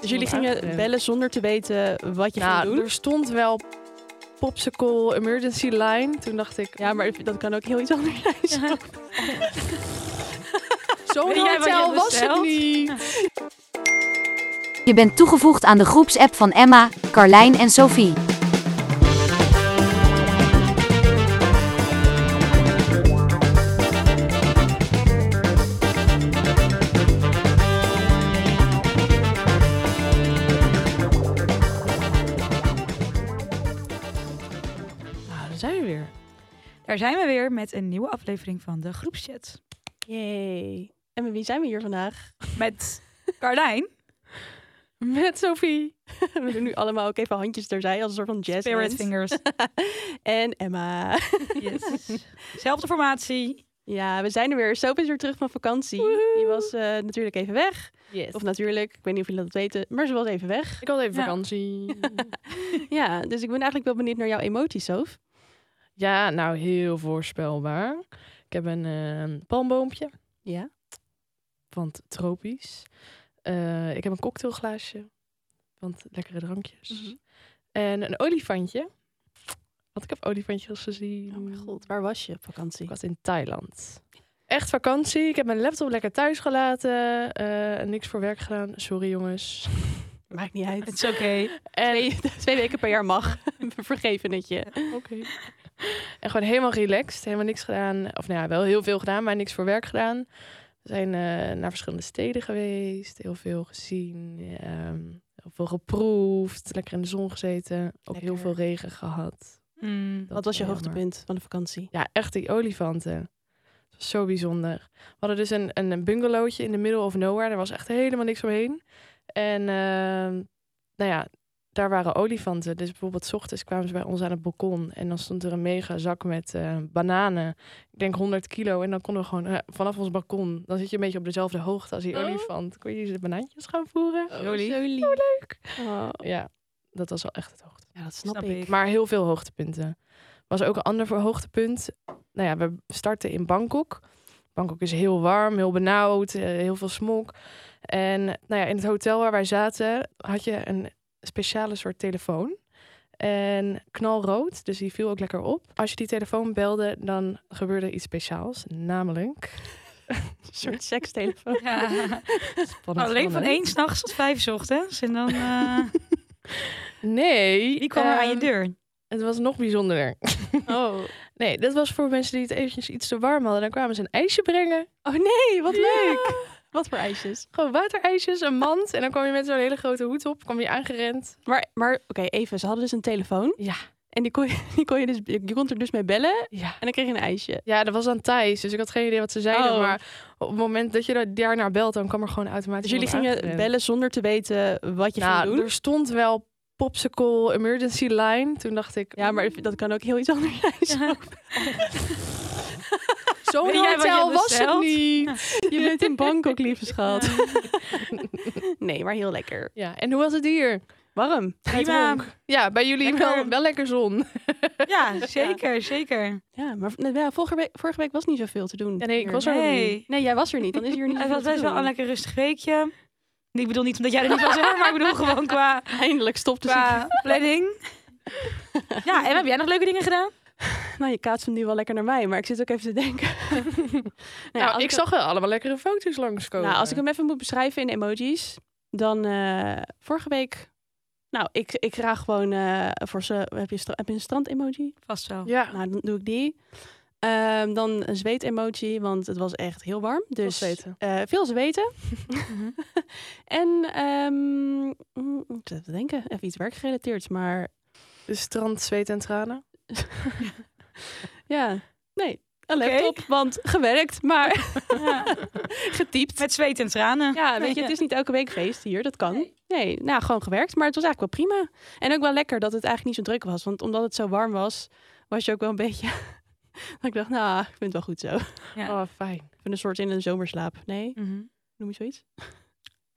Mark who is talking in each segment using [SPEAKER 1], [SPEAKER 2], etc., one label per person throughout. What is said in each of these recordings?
[SPEAKER 1] Dus jullie gingen bellen zonder te weten wat je ging
[SPEAKER 2] Nou,
[SPEAKER 1] doen?
[SPEAKER 2] er stond wel popsicle emergency line. Toen dacht ik,
[SPEAKER 1] Ja, maar dat kan ook heel iets anders zijn.
[SPEAKER 2] zo'n
[SPEAKER 3] Weet jij wat je
[SPEAKER 2] hotel
[SPEAKER 3] hebt
[SPEAKER 2] was het
[SPEAKER 3] besteld?
[SPEAKER 2] niet.
[SPEAKER 4] Je bent toegevoegd aan de groepsapp van Emma, Carlijn en Sophie.
[SPEAKER 2] Nou, daar zijn we weer.
[SPEAKER 3] Daar zijn we weer met een nieuwe aflevering van de groepschat.
[SPEAKER 1] Yay. En met wie zijn we hier vandaag?
[SPEAKER 3] Met Carlijn.
[SPEAKER 2] Met Sophie.
[SPEAKER 1] We doen nu allemaal ook even handjes terzij als een soort van jazz.
[SPEAKER 3] Spirit Fingers.
[SPEAKER 1] En Emma.
[SPEAKER 3] Yes. Zelfde formatie.
[SPEAKER 1] Ja, we zijn er weer. Soap is weer terug van vakantie. Die was eh, natuurlijk even weg.
[SPEAKER 2] Yes.
[SPEAKER 1] Of natuurlijk, ik weet niet of jullie dat weten, maar ze was even weg.
[SPEAKER 2] Ik had even
[SPEAKER 3] Ja.
[SPEAKER 2] vakantie.
[SPEAKER 1] Ja, dus ik ben eigenlijk wel benieuwd naar jouw emoties, Sof.
[SPEAKER 2] ja, nou heel voorspelbaar. Ik heb een eh, palmboompje,
[SPEAKER 1] Ja.
[SPEAKER 2] want tropisch. Eh, ik heb een cocktailglaasje, want lekkere drankjes.
[SPEAKER 1] Mhm.
[SPEAKER 2] En een olifantje, want ik heb olifantjes gezien.
[SPEAKER 1] Oh mijn god, waar was je op vakantie?
[SPEAKER 2] Ik was in Thailand. Echt vakantie. Ik heb mijn laptop lekker thuis gelaten. eh, niks voor werk gedaan. Sorry jongens.
[SPEAKER 1] Maakt niet uit.
[SPEAKER 3] It's oké.
[SPEAKER 1] Twee, twee weken per jaar mag. We vergeven het je.
[SPEAKER 2] Oké. En gewoon helemaal relaxed. Helemaal niks gedaan. Of nou ja, wel heel veel gedaan, maar niks voor werk gedaan. We zijn eh, naar verschillende steden geweest. Heel veel gezien. ehm, heel veel geproefd. Lekker in de zon gezeten. Ook heel
[SPEAKER 1] Lekker.
[SPEAKER 2] veel regen gehad.
[SPEAKER 3] Mm.
[SPEAKER 2] Dat
[SPEAKER 1] Wat was je
[SPEAKER 2] wel jammer.
[SPEAKER 1] hoogtepunt van de vakantie?
[SPEAKER 2] Ja, echt die olifanten. Het was zo bijzonder. We hadden dus een, een, een bungalowtje in de middle of nowhere. Er was echt helemaal niks omheen. En ehm, nou ja, daar waren olifanten. Dus bijvoorbeeld 's ochtends kwamen ze bij ons aan het balkon. En dan stond er een mega zak met eh, bananen. Ik denk 100 kilo. En dan konden we gewoon eh, vanaf ons balkon. Dan zit je een beetje op dezelfde hoogte als die
[SPEAKER 1] Oh.
[SPEAKER 2] olifant. Kun je ze de banaantjes gaan voeren?
[SPEAKER 3] Oh, Zo lief.
[SPEAKER 1] leuk.
[SPEAKER 2] Ja, dat was wel echt het hoogte.
[SPEAKER 1] Ja, dat snap,
[SPEAKER 3] Snap
[SPEAKER 1] ik.
[SPEAKER 3] ik.
[SPEAKER 2] Maar heel veel hoogtepunten. Was ook een ander voor hoogtepunt. Nou ja, we starten in Bangkok. Bangkok is heel warm, heel benauwd, eh, heel veel smog. En nou ja, in het hotel waar wij zaten had je een speciale soort telefoon. En knalrood, dus die viel ook lekker op. Als je die telefoon belde, dan gebeurde iets speciaals. Namelijk...
[SPEAKER 1] Een soort sekstelefoon.
[SPEAKER 3] Ja.
[SPEAKER 2] Spannend,
[SPEAKER 3] Alleen van
[SPEAKER 2] spannend.
[SPEAKER 3] één s'nachts tot vijf 's ochtends. En dan, eh
[SPEAKER 2] Nee.
[SPEAKER 3] wie kwam er aan je
[SPEAKER 2] ehm,
[SPEAKER 3] deur?
[SPEAKER 2] Het was nog bijzonderder.
[SPEAKER 1] Oh.
[SPEAKER 2] Nee, dat was voor mensen die het eventjes iets te warm hadden. Dan kwamen ze een ijsje brengen.
[SPEAKER 1] oh nee, wat
[SPEAKER 2] Ja.
[SPEAKER 1] leuk. Wat voor ijsjes.
[SPEAKER 2] Gewoon waterijsjes, een mand. En dan kwam je met zo'n hele grote hoed op, kwam je aangerend.
[SPEAKER 1] Maar, maar oké, even. Ze hadden dus een telefoon.
[SPEAKER 2] Ja.
[SPEAKER 1] En die kon, je, die kon je dus, je kon er dus mee bellen
[SPEAKER 2] Ja.
[SPEAKER 1] en dan kreeg je een ijsje.
[SPEAKER 2] Ja, dat was aan Thijs, dus ik had geen idee wat ze zeiden.
[SPEAKER 1] Oh.
[SPEAKER 2] Maar op het moment dat je daar- daar naar belt, dan kwam er gewoon
[SPEAKER 1] Dus
[SPEAKER 2] automatisch
[SPEAKER 1] jullie
[SPEAKER 2] iemand
[SPEAKER 1] gingen
[SPEAKER 2] aangerend.
[SPEAKER 1] bellen zonder te weten wat je
[SPEAKER 2] nou,
[SPEAKER 1] ging doen.
[SPEAKER 2] er stond wel popsicle emergency line. Toen dacht ik,
[SPEAKER 1] Ja, maar dat kan ook heel iets anders zijn.
[SPEAKER 2] "Mm, zo'n
[SPEAKER 3] Weet jij wat je
[SPEAKER 2] hotel
[SPEAKER 3] hebt
[SPEAKER 2] was het
[SPEAKER 3] besteld?
[SPEAKER 2] niet.
[SPEAKER 1] Je bent in Bangkok, lieve schat. Nee, maar heel lekker.
[SPEAKER 2] Ja, en hoe was het hier?
[SPEAKER 1] Warm.
[SPEAKER 3] Prima.
[SPEAKER 2] Ja, bij jullie wel,
[SPEAKER 3] Lekker.
[SPEAKER 2] wel lekker
[SPEAKER 1] Nou,
[SPEAKER 2] zon.
[SPEAKER 3] Ja, zeker, zeker.
[SPEAKER 1] Ja, maar nee, ja, vorige, week, vorige week was niet zoveel te doen.
[SPEAKER 2] Ja, nee, ik was er nog niet.
[SPEAKER 3] Nee.
[SPEAKER 1] Nee, jij was er niet. Dan is hier niet
[SPEAKER 3] Het
[SPEAKER 1] zoveel
[SPEAKER 3] was
[SPEAKER 1] te
[SPEAKER 3] best wel
[SPEAKER 1] doen.
[SPEAKER 3] een lekker rustig weekje. Ik bedoel niet omdat jij er niet was, hoor, maar ik bedoel gewoon qua,
[SPEAKER 1] Eindelijk stopte ze.
[SPEAKER 3] qua planning. Ja, en heb jij nog leuke dingen gedaan?
[SPEAKER 1] Nou, je kaatst hem nu wel lekker naar mij, maar ik zit ook even te denken. nou, ja,
[SPEAKER 2] nou,
[SPEAKER 1] als
[SPEAKER 2] ik,
[SPEAKER 1] hem-
[SPEAKER 2] zag wel allemaal lekkere foto's langskomen.
[SPEAKER 1] Nou, als ik hem even moet beschrijven in emojis, dan eh, vorige week... Nou, ik, ik graag gewoon eh, voor ze... Heb je, stra- heb je een strand-emoji?
[SPEAKER 3] Vast wel.
[SPEAKER 2] Ja,
[SPEAKER 1] Nou, dan doe ik die. Ehm, dan een zweet-emoji, want het was echt heel warm. Dus
[SPEAKER 2] zweten.
[SPEAKER 1] eh, veel zweten. en ehm, mm, ik zit even te denken, even iets werkgerelateerds, maar
[SPEAKER 2] dus strand, zweet en tranen.
[SPEAKER 1] ja, nee. Een laptop, want gewerkt, maar
[SPEAKER 3] Ja.
[SPEAKER 1] getypt.
[SPEAKER 3] Met zweet en tranen.
[SPEAKER 1] Ja, weet je, het is niet elke week feest hier, dat kan. Nee, nou, gewoon gewerkt, maar het was eigenlijk wel prima. En ook wel lekker dat het eigenlijk niet zo druk was, want omdat het zo warm was, was je ook wel een beetje... dat ik dacht, nou, ik vind het wel goed zo.
[SPEAKER 3] Ja.
[SPEAKER 2] Oh, fijn.
[SPEAKER 1] Even een soort in een zomerslaap. Nee,
[SPEAKER 3] Mhm.
[SPEAKER 1] noem je zoiets?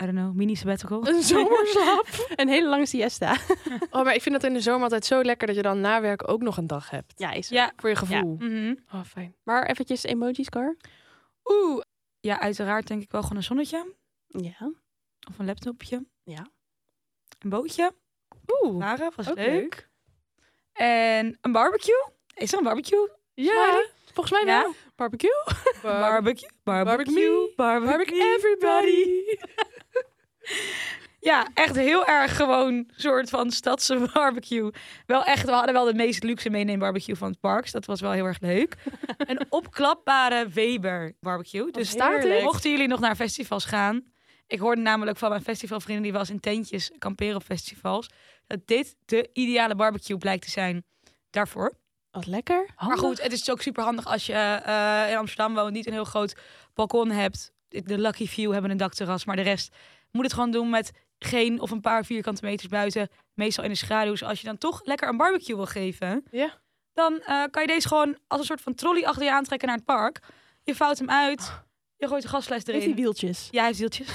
[SPEAKER 3] I don't know, mini sabbatical.
[SPEAKER 2] Een zomerslaap.
[SPEAKER 1] Een hele lange siesta.
[SPEAKER 2] oh, maar ik vind dat in de zomer altijd zo lekker dat je dan na werk ook nog een dag hebt.
[SPEAKER 1] Ja, is
[SPEAKER 3] Ja.
[SPEAKER 2] Voor je gevoel.
[SPEAKER 3] Mhm.
[SPEAKER 2] Oh, fijn.
[SPEAKER 1] Maar eventjes emojis, Car.
[SPEAKER 3] Oeh. Ja, uiteraard denk ik wel gewoon een zonnetje
[SPEAKER 1] Ja.
[SPEAKER 3] of een laptopje.
[SPEAKER 1] Ja.
[SPEAKER 3] een bootje.
[SPEAKER 2] Oeh,
[SPEAKER 3] Nara, was
[SPEAKER 2] Nou, ook
[SPEAKER 3] leuk. En een barbecue. Is er een barbecue?
[SPEAKER 2] Ja, volgens mij
[SPEAKER 3] Ja.
[SPEAKER 2] wel.
[SPEAKER 1] Barbecue?
[SPEAKER 2] Bar-
[SPEAKER 3] Barbecue.
[SPEAKER 2] Barbecue.
[SPEAKER 3] Barbecue.
[SPEAKER 2] Barbecue
[SPEAKER 3] Barbecue.
[SPEAKER 2] everybody.
[SPEAKER 3] Ja, echt heel erg gewoon soort van stadse barbecue. Wel echt, we hadden wel de meest luxe meeneembarbecue van het park. dus dat was wel heel erg leuk. een opklapbare Weber barbecue. Dus
[SPEAKER 2] staat
[SPEAKER 3] Heerlijk.
[SPEAKER 2] dit?
[SPEAKER 3] Mochten jullie nog naar festivals gaan. Ik hoorde namelijk van mijn festivalvrienden die wel eens in tentjes kamperen op festivals. Dat dit de ideale barbecue blijkt te zijn daarvoor.
[SPEAKER 1] Wat lekker.
[SPEAKER 3] Maar goed, het is ook super handig als je eh, in Amsterdam woont, niet een heel groot balkon hebt. De Lucky Few hebben een dakterras, maar de rest moet het gewoon doen met geen of een paar vierkante meters buiten. Meestal in de schaduw. Dus als je dan toch lekker een barbecue wil geven,
[SPEAKER 2] Ja.
[SPEAKER 3] dan eh, kan je deze gewoon als een soort van trolley achter je aantrekken naar het park. Je vouwt hem uit, je gooit de gasfles
[SPEAKER 1] Heeft die
[SPEAKER 3] erin.
[SPEAKER 1] wieltjes?
[SPEAKER 3] Ja, hij heeft wieltjes.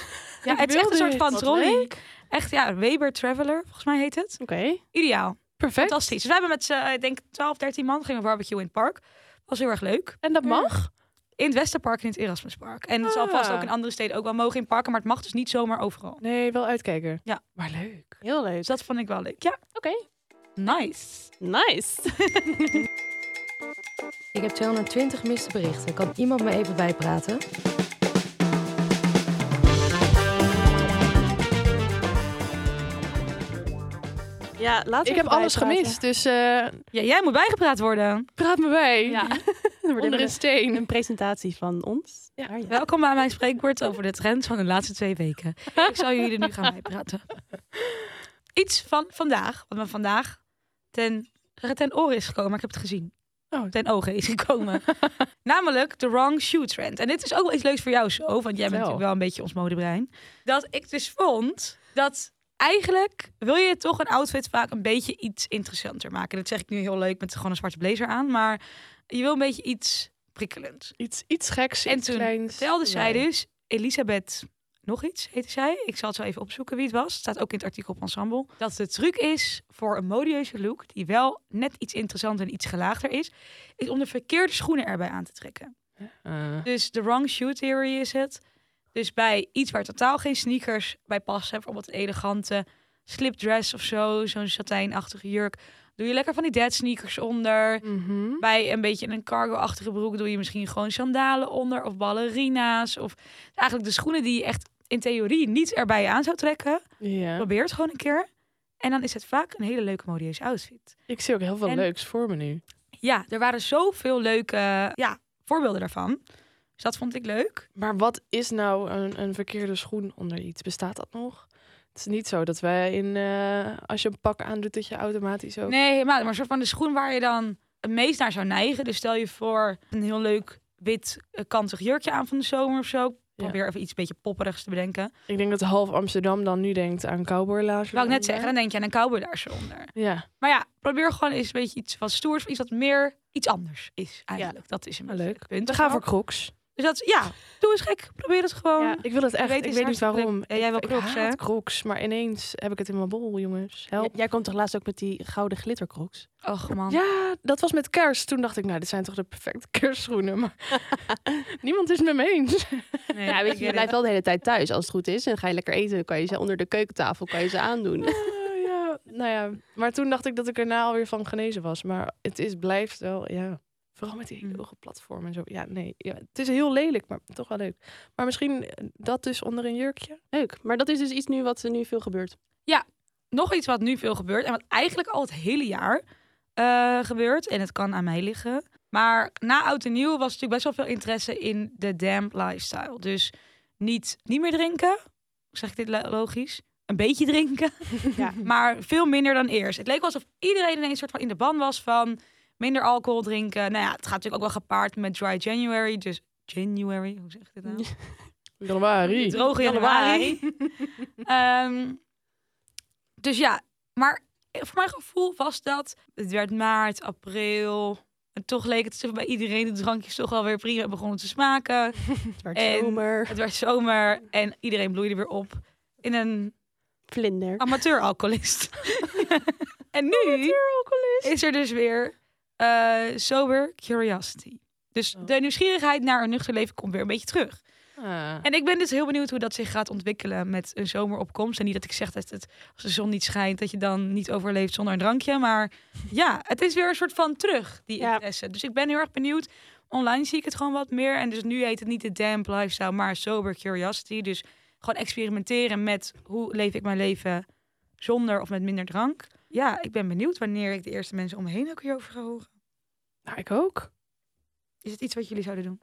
[SPEAKER 3] Ja,
[SPEAKER 2] Ik
[SPEAKER 3] het is
[SPEAKER 2] wil
[SPEAKER 3] echt een soort
[SPEAKER 2] dit.
[SPEAKER 3] van
[SPEAKER 2] Wat
[SPEAKER 3] trolley.
[SPEAKER 2] leuk.
[SPEAKER 3] Echt, ja, Weber Traveler, volgens mij heet het.
[SPEAKER 1] Oké.
[SPEAKER 3] Ideaal.
[SPEAKER 2] Perfect.
[SPEAKER 3] Fantastisch. Dus we hebben met z'n, eh, ik denk 12, 13 man gingen we barbecue in het park. Was heel erg leuk.
[SPEAKER 2] En dat mag?
[SPEAKER 3] In het Westerpark en in het Erasmuspark. En het zal vast
[SPEAKER 2] Ah.
[SPEAKER 3] ook in andere steden ook wel mogen in parken, maar het mag dus niet zomaar overal.
[SPEAKER 2] Nee, wel uitkijken.
[SPEAKER 3] Ja.
[SPEAKER 2] Maar leuk.
[SPEAKER 1] Heel leuk.
[SPEAKER 3] Dus dat vond ik wel leuk. Ja,
[SPEAKER 1] Oké.
[SPEAKER 3] nice.
[SPEAKER 1] Nice.
[SPEAKER 5] Ik heb 220 miste berichten. Kan iemand me even bijpraten?
[SPEAKER 1] Ja, laat
[SPEAKER 2] Ik heb alles gemist, dus eh,
[SPEAKER 3] Ja, jij moet bijgepraat worden.
[SPEAKER 2] praat me bij. Onder
[SPEAKER 1] Onder
[SPEAKER 2] een
[SPEAKER 1] is
[SPEAKER 2] steen.
[SPEAKER 1] een presentatie van ons.
[SPEAKER 2] Ja.
[SPEAKER 1] Maar
[SPEAKER 3] Welkom bij mijn spreekwoord over de trends van de laatste twee weken. Ik zal jullie er nu gaan bijpraten. Iets van vandaag, wat me vandaag ten, ten oren is gekomen, maar ik heb het gezien.
[SPEAKER 2] Oh.
[SPEAKER 3] Ten ogen is gekomen. Namelijk de wrong shoe trend. En dit is ook wel iets leuks voor jou zo, want jij bent
[SPEAKER 2] Vertel.
[SPEAKER 3] natuurlijk wel een beetje ons modebrein. Dat ik dus vond dat eigenlijk wil je toch een outfit vaak een beetje iets interessanter maken. Dat zeg ik nu heel leuk met gewoon een zwarte blazer aan, maar je wil een beetje iets prikkelends.
[SPEAKER 2] Iets, iets geks,
[SPEAKER 3] En
[SPEAKER 2] iets
[SPEAKER 3] toen
[SPEAKER 2] kleins.
[SPEAKER 3] Vertelde zij
[SPEAKER 2] erbij.
[SPEAKER 3] dus, Elisabeth nog iets heette zij. Ik zal het zo even opzoeken wie het was. Het staat ook in het artikel op Ensemble. Dat de truc is voor een modieuze look, die wel net iets interessanter en iets gelaagder is, is om de verkeerde schoenen erbij aan te trekken.
[SPEAKER 2] Eh,
[SPEAKER 3] Dus de wrong shoe theory is het. Dus bij iets waar totaal geen sneakers bij passen, bijvoorbeeld een elegante slipdress of zo, zo'n satijnachtige jurk, doe je lekker van die dead sneakers onder.
[SPEAKER 2] mhm.
[SPEAKER 3] Bij een beetje een cargo-achtige broek doe je misschien gewoon sandalen onder of ballerina's. Of eigenlijk de schoenen die je echt in theorie niet erbij aan zou trekken.
[SPEAKER 2] Ja.
[SPEAKER 3] Probeer het gewoon een keer. En dan is het vaak een hele leuke modieuze outfit.
[SPEAKER 2] Ik zie ook heel veel
[SPEAKER 3] En-
[SPEAKER 2] leuks voor me nu.
[SPEAKER 3] Ja, er waren zoveel leuke ja, voorbeelden daarvan. Dus dat vond ik leuk.
[SPEAKER 2] Maar wat is nou een, een verkeerde schoen onder iets? Bestaat dat nog? Het is niet zo dat wij in, eh, als je een pak aandoet, dat je automatisch ook...
[SPEAKER 3] Nee, maar, maar een soort van de schoen waar je dan het meest naar zou neigen. Dus stel je voor een heel leuk wit eh, kantig jurkje aan van de zomer of zo. Ik
[SPEAKER 2] Ja.
[SPEAKER 3] Probeer even iets beetje popperigs te bedenken.
[SPEAKER 2] Ik denk dat half Amsterdam dan nu denkt aan cowboylaars.
[SPEAKER 3] Wou ik net zeggen, dan denk je aan een cowboy onder.
[SPEAKER 2] Ja,
[SPEAKER 3] Maar ja, probeer gewoon eens een beetje iets wat stoers, iets wat meer iets anders is eigenlijk. Dat is een
[SPEAKER 2] Ah,
[SPEAKER 3] beetje
[SPEAKER 2] leuk.
[SPEAKER 3] het punt.
[SPEAKER 2] we gaan voor crocs.
[SPEAKER 3] Dus dat, is- ja, doe eens gek. Probeer het gewoon.
[SPEAKER 1] Ja.
[SPEAKER 2] Ik wil het echt,
[SPEAKER 3] weet
[SPEAKER 2] ik
[SPEAKER 3] eens
[SPEAKER 2] weet dus niet
[SPEAKER 3] hartstikke
[SPEAKER 2] waarom.
[SPEAKER 3] leuk. Ja, jij wil
[SPEAKER 2] Ik- ik
[SPEAKER 3] crocs, hè?
[SPEAKER 2] haat crocs, maar ineens heb ik het in mijn bol, jongens. Help.
[SPEAKER 1] Jij komt toch laatst ook met die gouden glittercrocs?
[SPEAKER 3] Och man.
[SPEAKER 2] Ja, dat was met kerst. Toen dacht ik, nou, dit zijn toch de perfecte kerstschoenen. Maar niemand is het met me eens.
[SPEAKER 3] Nee,
[SPEAKER 1] Ja,
[SPEAKER 3] ik
[SPEAKER 1] weet je, je
[SPEAKER 3] weet
[SPEAKER 1] blijft wel de hele tijd thuis als het goed is. En ga je lekker eten, dan kan je ze onder de keukentafel kan je ze aandoen.
[SPEAKER 2] Eh, ja, nou ja. Maar toen dacht ik dat ik erna alweer van genezen was. Maar het is, blijft wel, ja. Vooral met die
[SPEAKER 3] Mm.
[SPEAKER 2] hoge platform en zo. Ja, nee. Ja, het is heel lelijk, maar toch wel leuk. Maar misschien eh, dat dus onder een jurkje.
[SPEAKER 1] Leuk. Maar dat is dus iets nu wat er nu veel gebeurt.
[SPEAKER 3] het. Nog iets wat nu veel gebeurt en wat eigenlijk al het hele jaar eh, gebeurt. En het kan aan mij liggen. Maar na oud en nieuw was natuurlijk best wel veel interesse in de damp lifestyle. Dus niet, niet meer drinken. Zeg ik dit lo- logisch? Een beetje drinken.
[SPEAKER 1] Ja.
[SPEAKER 3] maar veel minder dan eerst. Het leek wel alsof iedereen ineens soort van in de ban was van minder alcohol drinken. Nou ja, het gaat natuurlijk ook wel gepaard met dry January. Dus January, hoe zeg ik dit nou?
[SPEAKER 2] Januari.
[SPEAKER 3] Droge januari. Ehm, dus ja, maar voor mijn gevoel was dat. Het werd maart, april. En toch leek het alsof bij iedereen de drankjes toch alweer prima begonnen te smaken.
[SPEAKER 1] Het werd
[SPEAKER 3] En-
[SPEAKER 1] zomer.
[SPEAKER 3] Het werd zomer en iedereen bloeide weer op in een
[SPEAKER 1] Vlinder.
[SPEAKER 3] amateur-alcoholist. en nu is er dus weer eh, sober curiosity. Dus de nieuwsgierigheid naar een nuchter leven komt weer een beetje terug.
[SPEAKER 2] Ah.
[SPEAKER 3] En ik ben dus heel benieuwd hoe dat zich gaat ontwikkelen met een zomeropkomst. En niet dat ik zeg dat het, als de zon niet schijnt, dat je dan niet overleeft zonder een drankje. Maar ja, het is weer een soort van terug, die
[SPEAKER 1] Ja.
[SPEAKER 3] interesse. Dus ik ben heel erg benieuwd. Online zie ik het gewoon wat meer. En dus nu heet het niet de damp lifestyle, maar sober curiosity. Dus gewoon experimenteren met hoe leef ik mijn leven zonder of met minder drank. Ja, ik ben benieuwd wanneer ik de eerste mensen om me heen ook hierover ga horen.
[SPEAKER 2] Nou, ik ook.
[SPEAKER 3] Is het iets wat jullie zouden doen?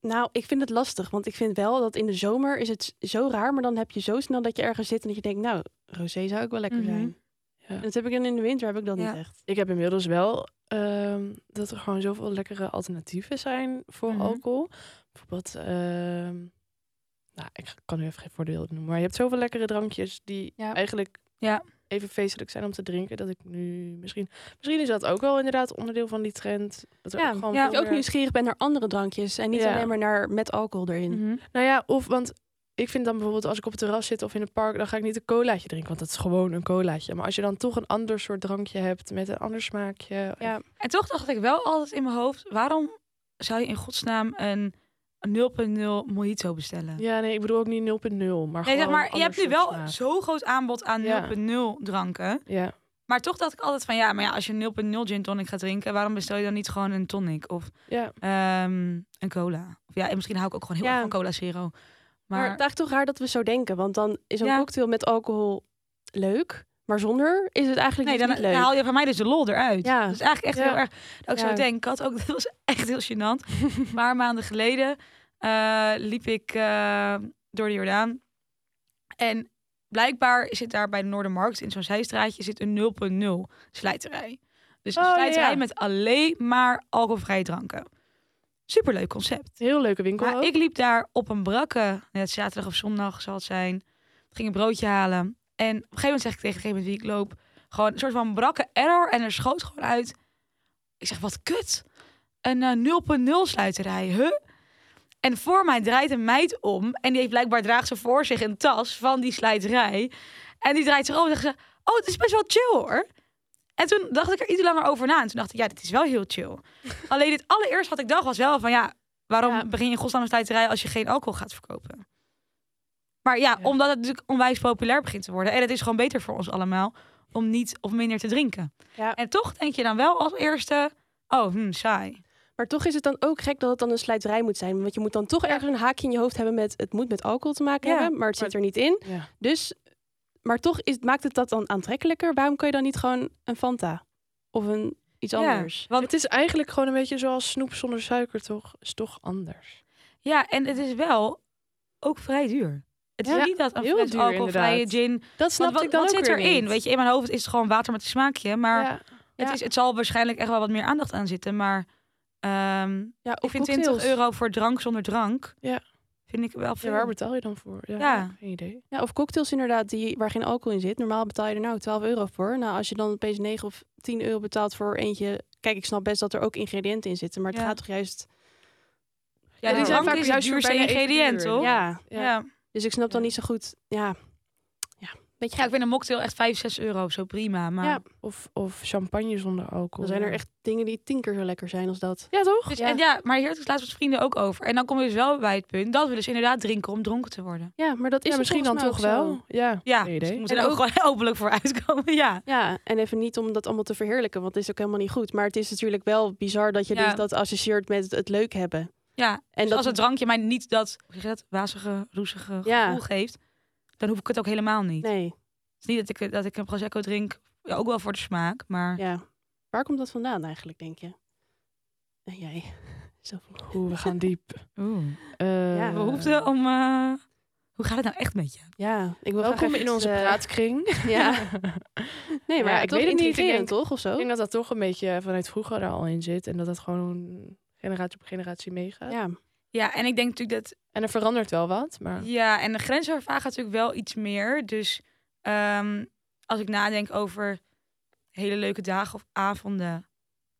[SPEAKER 1] Nou, ik vind het lastig, want ik vind wel dat in de zomer is het zo raar, maar dan heb je zo snel dat je ergens zit en dat je denkt, nou, rosé zou ook wel lekker
[SPEAKER 3] Mhm.
[SPEAKER 1] zijn.
[SPEAKER 2] Ja.
[SPEAKER 1] En dat heb ik dan in de winter heb ik dat
[SPEAKER 3] Ja.
[SPEAKER 1] niet echt.
[SPEAKER 2] Ik heb inmiddels wel ehm, dat er gewoon zoveel lekkere alternatieven zijn voor
[SPEAKER 3] Mhm.
[SPEAKER 2] alcohol. Bijvoorbeeld, ehm, nou, ik kan nu even geen voordeel noemen, maar je hebt zoveel lekkere drankjes die
[SPEAKER 3] Ja.
[SPEAKER 2] eigenlijk
[SPEAKER 3] Ja.
[SPEAKER 2] even feestelijk zijn om te drinken. Dat ik nu misschien, misschien is dat ook wel inderdaad onderdeel van die trend. Dat er
[SPEAKER 1] Ja,
[SPEAKER 2] ook gewoon
[SPEAKER 3] ja.
[SPEAKER 1] Dat
[SPEAKER 2] veel
[SPEAKER 1] je ook
[SPEAKER 2] meer-
[SPEAKER 1] nieuwsgierig bent naar andere drankjes en niet
[SPEAKER 2] Ja.
[SPEAKER 1] alleen maar naar met alcohol erin.
[SPEAKER 2] Nou ja, of want ik vind dan bijvoorbeeld als ik op het terras zit of in het park, dan ga ik niet een colaatje drinken, want dat is gewoon een colaatje. Maar als je dan toch een ander soort drankje hebt met een ander smaakje,
[SPEAKER 1] Ja.
[SPEAKER 3] En toch dacht ik wel altijd in mijn hoofd: waarom zou je in godsnaam een 0.0 mojito bestellen?
[SPEAKER 2] Ja, nee, ik bedoel ook niet 0.0, maar
[SPEAKER 3] Nee,
[SPEAKER 2] gewoon
[SPEAKER 3] zeg maar,
[SPEAKER 2] een
[SPEAKER 3] je hebt nu
[SPEAKER 2] ander soort
[SPEAKER 3] wel
[SPEAKER 2] smaak.
[SPEAKER 3] zo'n groot aanbod aan
[SPEAKER 2] Ja.
[SPEAKER 3] 0.0 dranken.
[SPEAKER 2] Ja,
[SPEAKER 3] Maar toch dacht ik altijd van ja, maar ja, als je 0.0 gin tonic gaat drinken, waarom bestel je dan niet gewoon een tonic of
[SPEAKER 2] ja.
[SPEAKER 3] ehm, een cola? Of ja, en misschien hou ik ook gewoon heel
[SPEAKER 1] Ja.
[SPEAKER 3] erg van cola zero.
[SPEAKER 1] Maar,
[SPEAKER 3] Maar,
[SPEAKER 1] het is eigenlijk toch raar dat we zo denken, want dan is een
[SPEAKER 3] Ja.
[SPEAKER 1] cocktail met alcohol leuk, maar zonder is het eigenlijk
[SPEAKER 3] nee,
[SPEAKER 1] dus
[SPEAKER 3] dan,
[SPEAKER 1] niet leuk.
[SPEAKER 3] dan haal je van mij dus de lol eruit.
[SPEAKER 1] Ja.
[SPEAKER 3] Dat is eigenlijk echt
[SPEAKER 2] Ja.
[SPEAKER 3] heel erg. Dat ik
[SPEAKER 1] Ja.
[SPEAKER 3] zo denk, ik had ook, dat was echt heel gênant. Een paar maanden geleden eh, liep ik eh, door de Jordaan. En blijkbaar zit daar bij de Noordermarkt in zo'n zijstraatje zit een 0.0 slijterij. Dus een
[SPEAKER 2] Oh,
[SPEAKER 3] slijterij
[SPEAKER 2] ja.
[SPEAKER 3] met alleen maar alcoholvrije dranken. Superleuk concept.
[SPEAKER 2] Heel leuke winkel
[SPEAKER 3] Maar
[SPEAKER 2] ook.
[SPEAKER 3] ik liep daar op een brakke, net zaterdag of zondag zal het zijn. Ging een broodje halen. En op een gegeven moment zeg ik tegen degene met wie ik loop, gewoon een soort van brakke error. En er schoot gewoon uit. Ik zeg, wat kut. Een eh, 0.0 sluiterij, huh? En voor mij draait een meid om. En die heeft blijkbaar draagt ze voor zich een tas van die slijterij. En die draait zich om en zegt ze, oh, het is best wel chill hoor. En toen dacht ik er iets langer over na. En toen dacht ik, ja, dit is wel heel chill. Alleen dit allereerst wat ik dacht was wel van, ja, waarom
[SPEAKER 1] Ja.
[SPEAKER 3] begin je in godsnaam een slijterij als je geen alcohol gaat verkopen? Maar ja,
[SPEAKER 2] Ja.
[SPEAKER 3] omdat het natuurlijk onwijs populair begint te worden. En het is gewoon beter voor ons allemaal om niet of minder te drinken.
[SPEAKER 1] Ja.
[SPEAKER 3] En toch denk je dan wel als eerste, oh, hm, saai.
[SPEAKER 1] Maar toch is het dan ook gek dat het dan een slijterij moet zijn. Want je moet dan toch ergens een haakje in je hoofd hebben met... het moet met alcohol te maken
[SPEAKER 3] Ja,
[SPEAKER 1] hebben, maar het zit er niet in.
[SPEAKER 2] Ja.
[SPEAKER 1] Dus, maar toch is, maakt het dat dan aantrekkelijker. Waarom kan je dan niet gewoon een Fanta? Of een, iets
[SPEAKER 3] Ja.
[SPEAKER 1] anders?
[SPEAKER 3] Want
[SPEAKER 2] Het is eigenlijk gewoon een beetje zoals snoep zonder suiker, toch? Is toch anders.
[SPEAKER 3] Ja, en het is wel ook vrij duur. Het is
[SPEAKER 2] Ja,
[SPEAKER 3] niet dat een
[SPEAKER 2] heel
[SPEAKER 3] fles
[SPEAKER 2] duur
[SPEAKER 3] alcoholvrije
[SPEAKER 2] inderdaad.
[SPEAKER 3] gin...
[SPEAKER 2] Dat snap
[SPEAKER 3] Want wat,
[SPEAKER 2] ik dan
[SPEAKER 3] wat
[SPEAKER 2] ook
[SPEAKER 3] zit
[SPEAKER 2] weer
[SPEAKER 3] erin?
[SPEAKER 2] niet.
[SPEAKER 3] Weet je, in mijn hoofd is het gewoon water met een smaakje. Maar
[SPEAKER 2] Ja.
[SPEAKER 3] het,
[SPEAKER 2] ja.
[SPEAKER 3] is, het zal waarschijnlijk echt wel wat meer aandacht aan zitten. Maar ehm,
[SPEAKER 1] Ja, of
[SPEAKER 3] ik vind
[SPEAKER 1] cocktails.
[SPEAKER 3] 20 euro voor drank zonder drank...
[SPEAKER 2] Ja.
[SPEAKER 3] Vind ik wel
[SPEAKER 2] Ja,
[SPEAKER 3] veel.
[SPEAKER 2] waar betaal je dan voor? Ja,
[SPEAKER 3] Ja.
[SPEAKER 2] Geen idee.
[SPEAKER 1] Ja, of cocktails inderdaad, die, waar geen alcohol in zit. Normaal betaal je er nou 12 euro voor. Nou, als je dan opeens 9 of 10 euro betaalt voor eentje... Kijk, ik snap best dat er ook ingrediënten in zitten. Maar het
[SPEAKER 3] Ja.
[SPEAKER 1] gaat toch juist...
[SPEAKER 3] ja, die
[SPEAKER 1] die zijn
[SPEAKER 3] drank
[SPEAKER 2] vaak
[SPEAKER 3] is het
[SPEAKER 2] juist
[SPEAKER 3] duurste
[SPEAKER 2] bijna even
[SPEAKER 3] ingrediënt,
[SPEAKER 2] duur.
[SPEAKER 3] toch?
[SPEAKER 1] Ja,
[SPEAKER 3] Ja.
[SPEAKER 2] Ja.
[SPEAKER 3] Ja.
[SPEAKER 1] dus ik snap dan
[SPEAKER 2] Ja.
[SPEAKER 1] niet zo goed... Ja, ja beetje
[SPEAKER 3] Ja, ik
[SPEAKER 1] gek.
[SPEAKER 3] vind een mocktail echt 5, 6 euro of zo prima. Maar...
[SPEAKER 1] Ja.
[SPEAKER 2] Of, of champagne zonder alcohol.
[SPEAKER 1] Dan zijn er echt dingen die tien keer zo lekker zijn als dat.
[SPEAKER 2] Ja, toch?
[SPEAKER 3] Dus,
[SPEAKER 1] Ja.
[SPEAKER 3] En ja, maar hier had ik het laatst met vrienden ook over. En dan kom je dus wel bij het punt dat we dus inderdaad drinken om dronken te worden. Dus
[SPEAKER 1] Ja, maar dat is
[SPEAKER 2] ja,
[SPEAKER 1] het
[SPEAKER 2] misschien dan
[SPEAKER 1] volgens mij
[SPEAKER 2] toch
[SPEAKER 1] ook zo.
[SPEAKER 2] wel. Ja.
[SPEAKER 3] Ja,
[SPEAKER 2] Geen idee.
[SPEAKER 3] en ook gewoon openlijk voor uitkomen, ja.
[SPEAKER 1] Ja, en even niet om dat allemaal te verheerlijken, want dat is ook helemaal niet goed. Maar het is natuurlijk wel bizar dat je
[SPEAKER 3] Ja.
[SPEAKER 1] dus dat associeert met het leuk hebben.
[SPEAKER 3] Ja,
[SPEAKER 1] En
[SPEAKER 3] Dus
[SPEAKER 1] dat
[SPEAKER 3] als het drankje mij niet dat, hoe zeg je dat wazige, roesige
[SPEAKER 1] Ja.
[SPEAKER 3] gevoel geeft, dan hoef ik het ook helemaal niet.
[SPEAKER 1] Nee,
[SPEAKER 3] Het is niet dat ik, dat ik een prosecco drink, ja, ook wel voor de smaak, maar...
[SPEAKER 1] ja. Waar komt dat vandaan eigenlijk, denk je? En jij? Sophie.
[SPEAKER 2] Oeh, we gaan diep. Eh,
[SPEAKER 1] Ja.
[SPEAKER 3] De behoefte om... eh, hoe gaat het nou echt met je?
[SPEAKER 1] Ja, ik wil graag
[SPEAKER 2] Welkom
[SPEAKER 1] even
[SPEAKER 2] in onze
[SPEAKER 1] iets, eh,
[SPEAKER 2] praatkring.
[SPEAKER 1] Ja. Nee, maar
[SPEAKER 2] Ja,
[SPEAKER 1] ik weet het niet.
[SPEAKER 2] denk-
[SPEAKER 1] toch, of zo?
[SPEAKER 2] Ik denk dat dat toch een beetje vanuit vroeger er al in zit. En dat dat gewoon generatie op generatie meegaat.
[SPEAKER 1] Ja,
[SPEAKER 3] Ja, en ik denk natuurlijk dat...
[SPEAKER 2] En er verandert wel wat, maar...
[SPEAKER 3] Ja, en de grenzen vervagen natuurlijk wel iets meer. Dus ehm, als ik nadenk over hele leuke dagen of avonden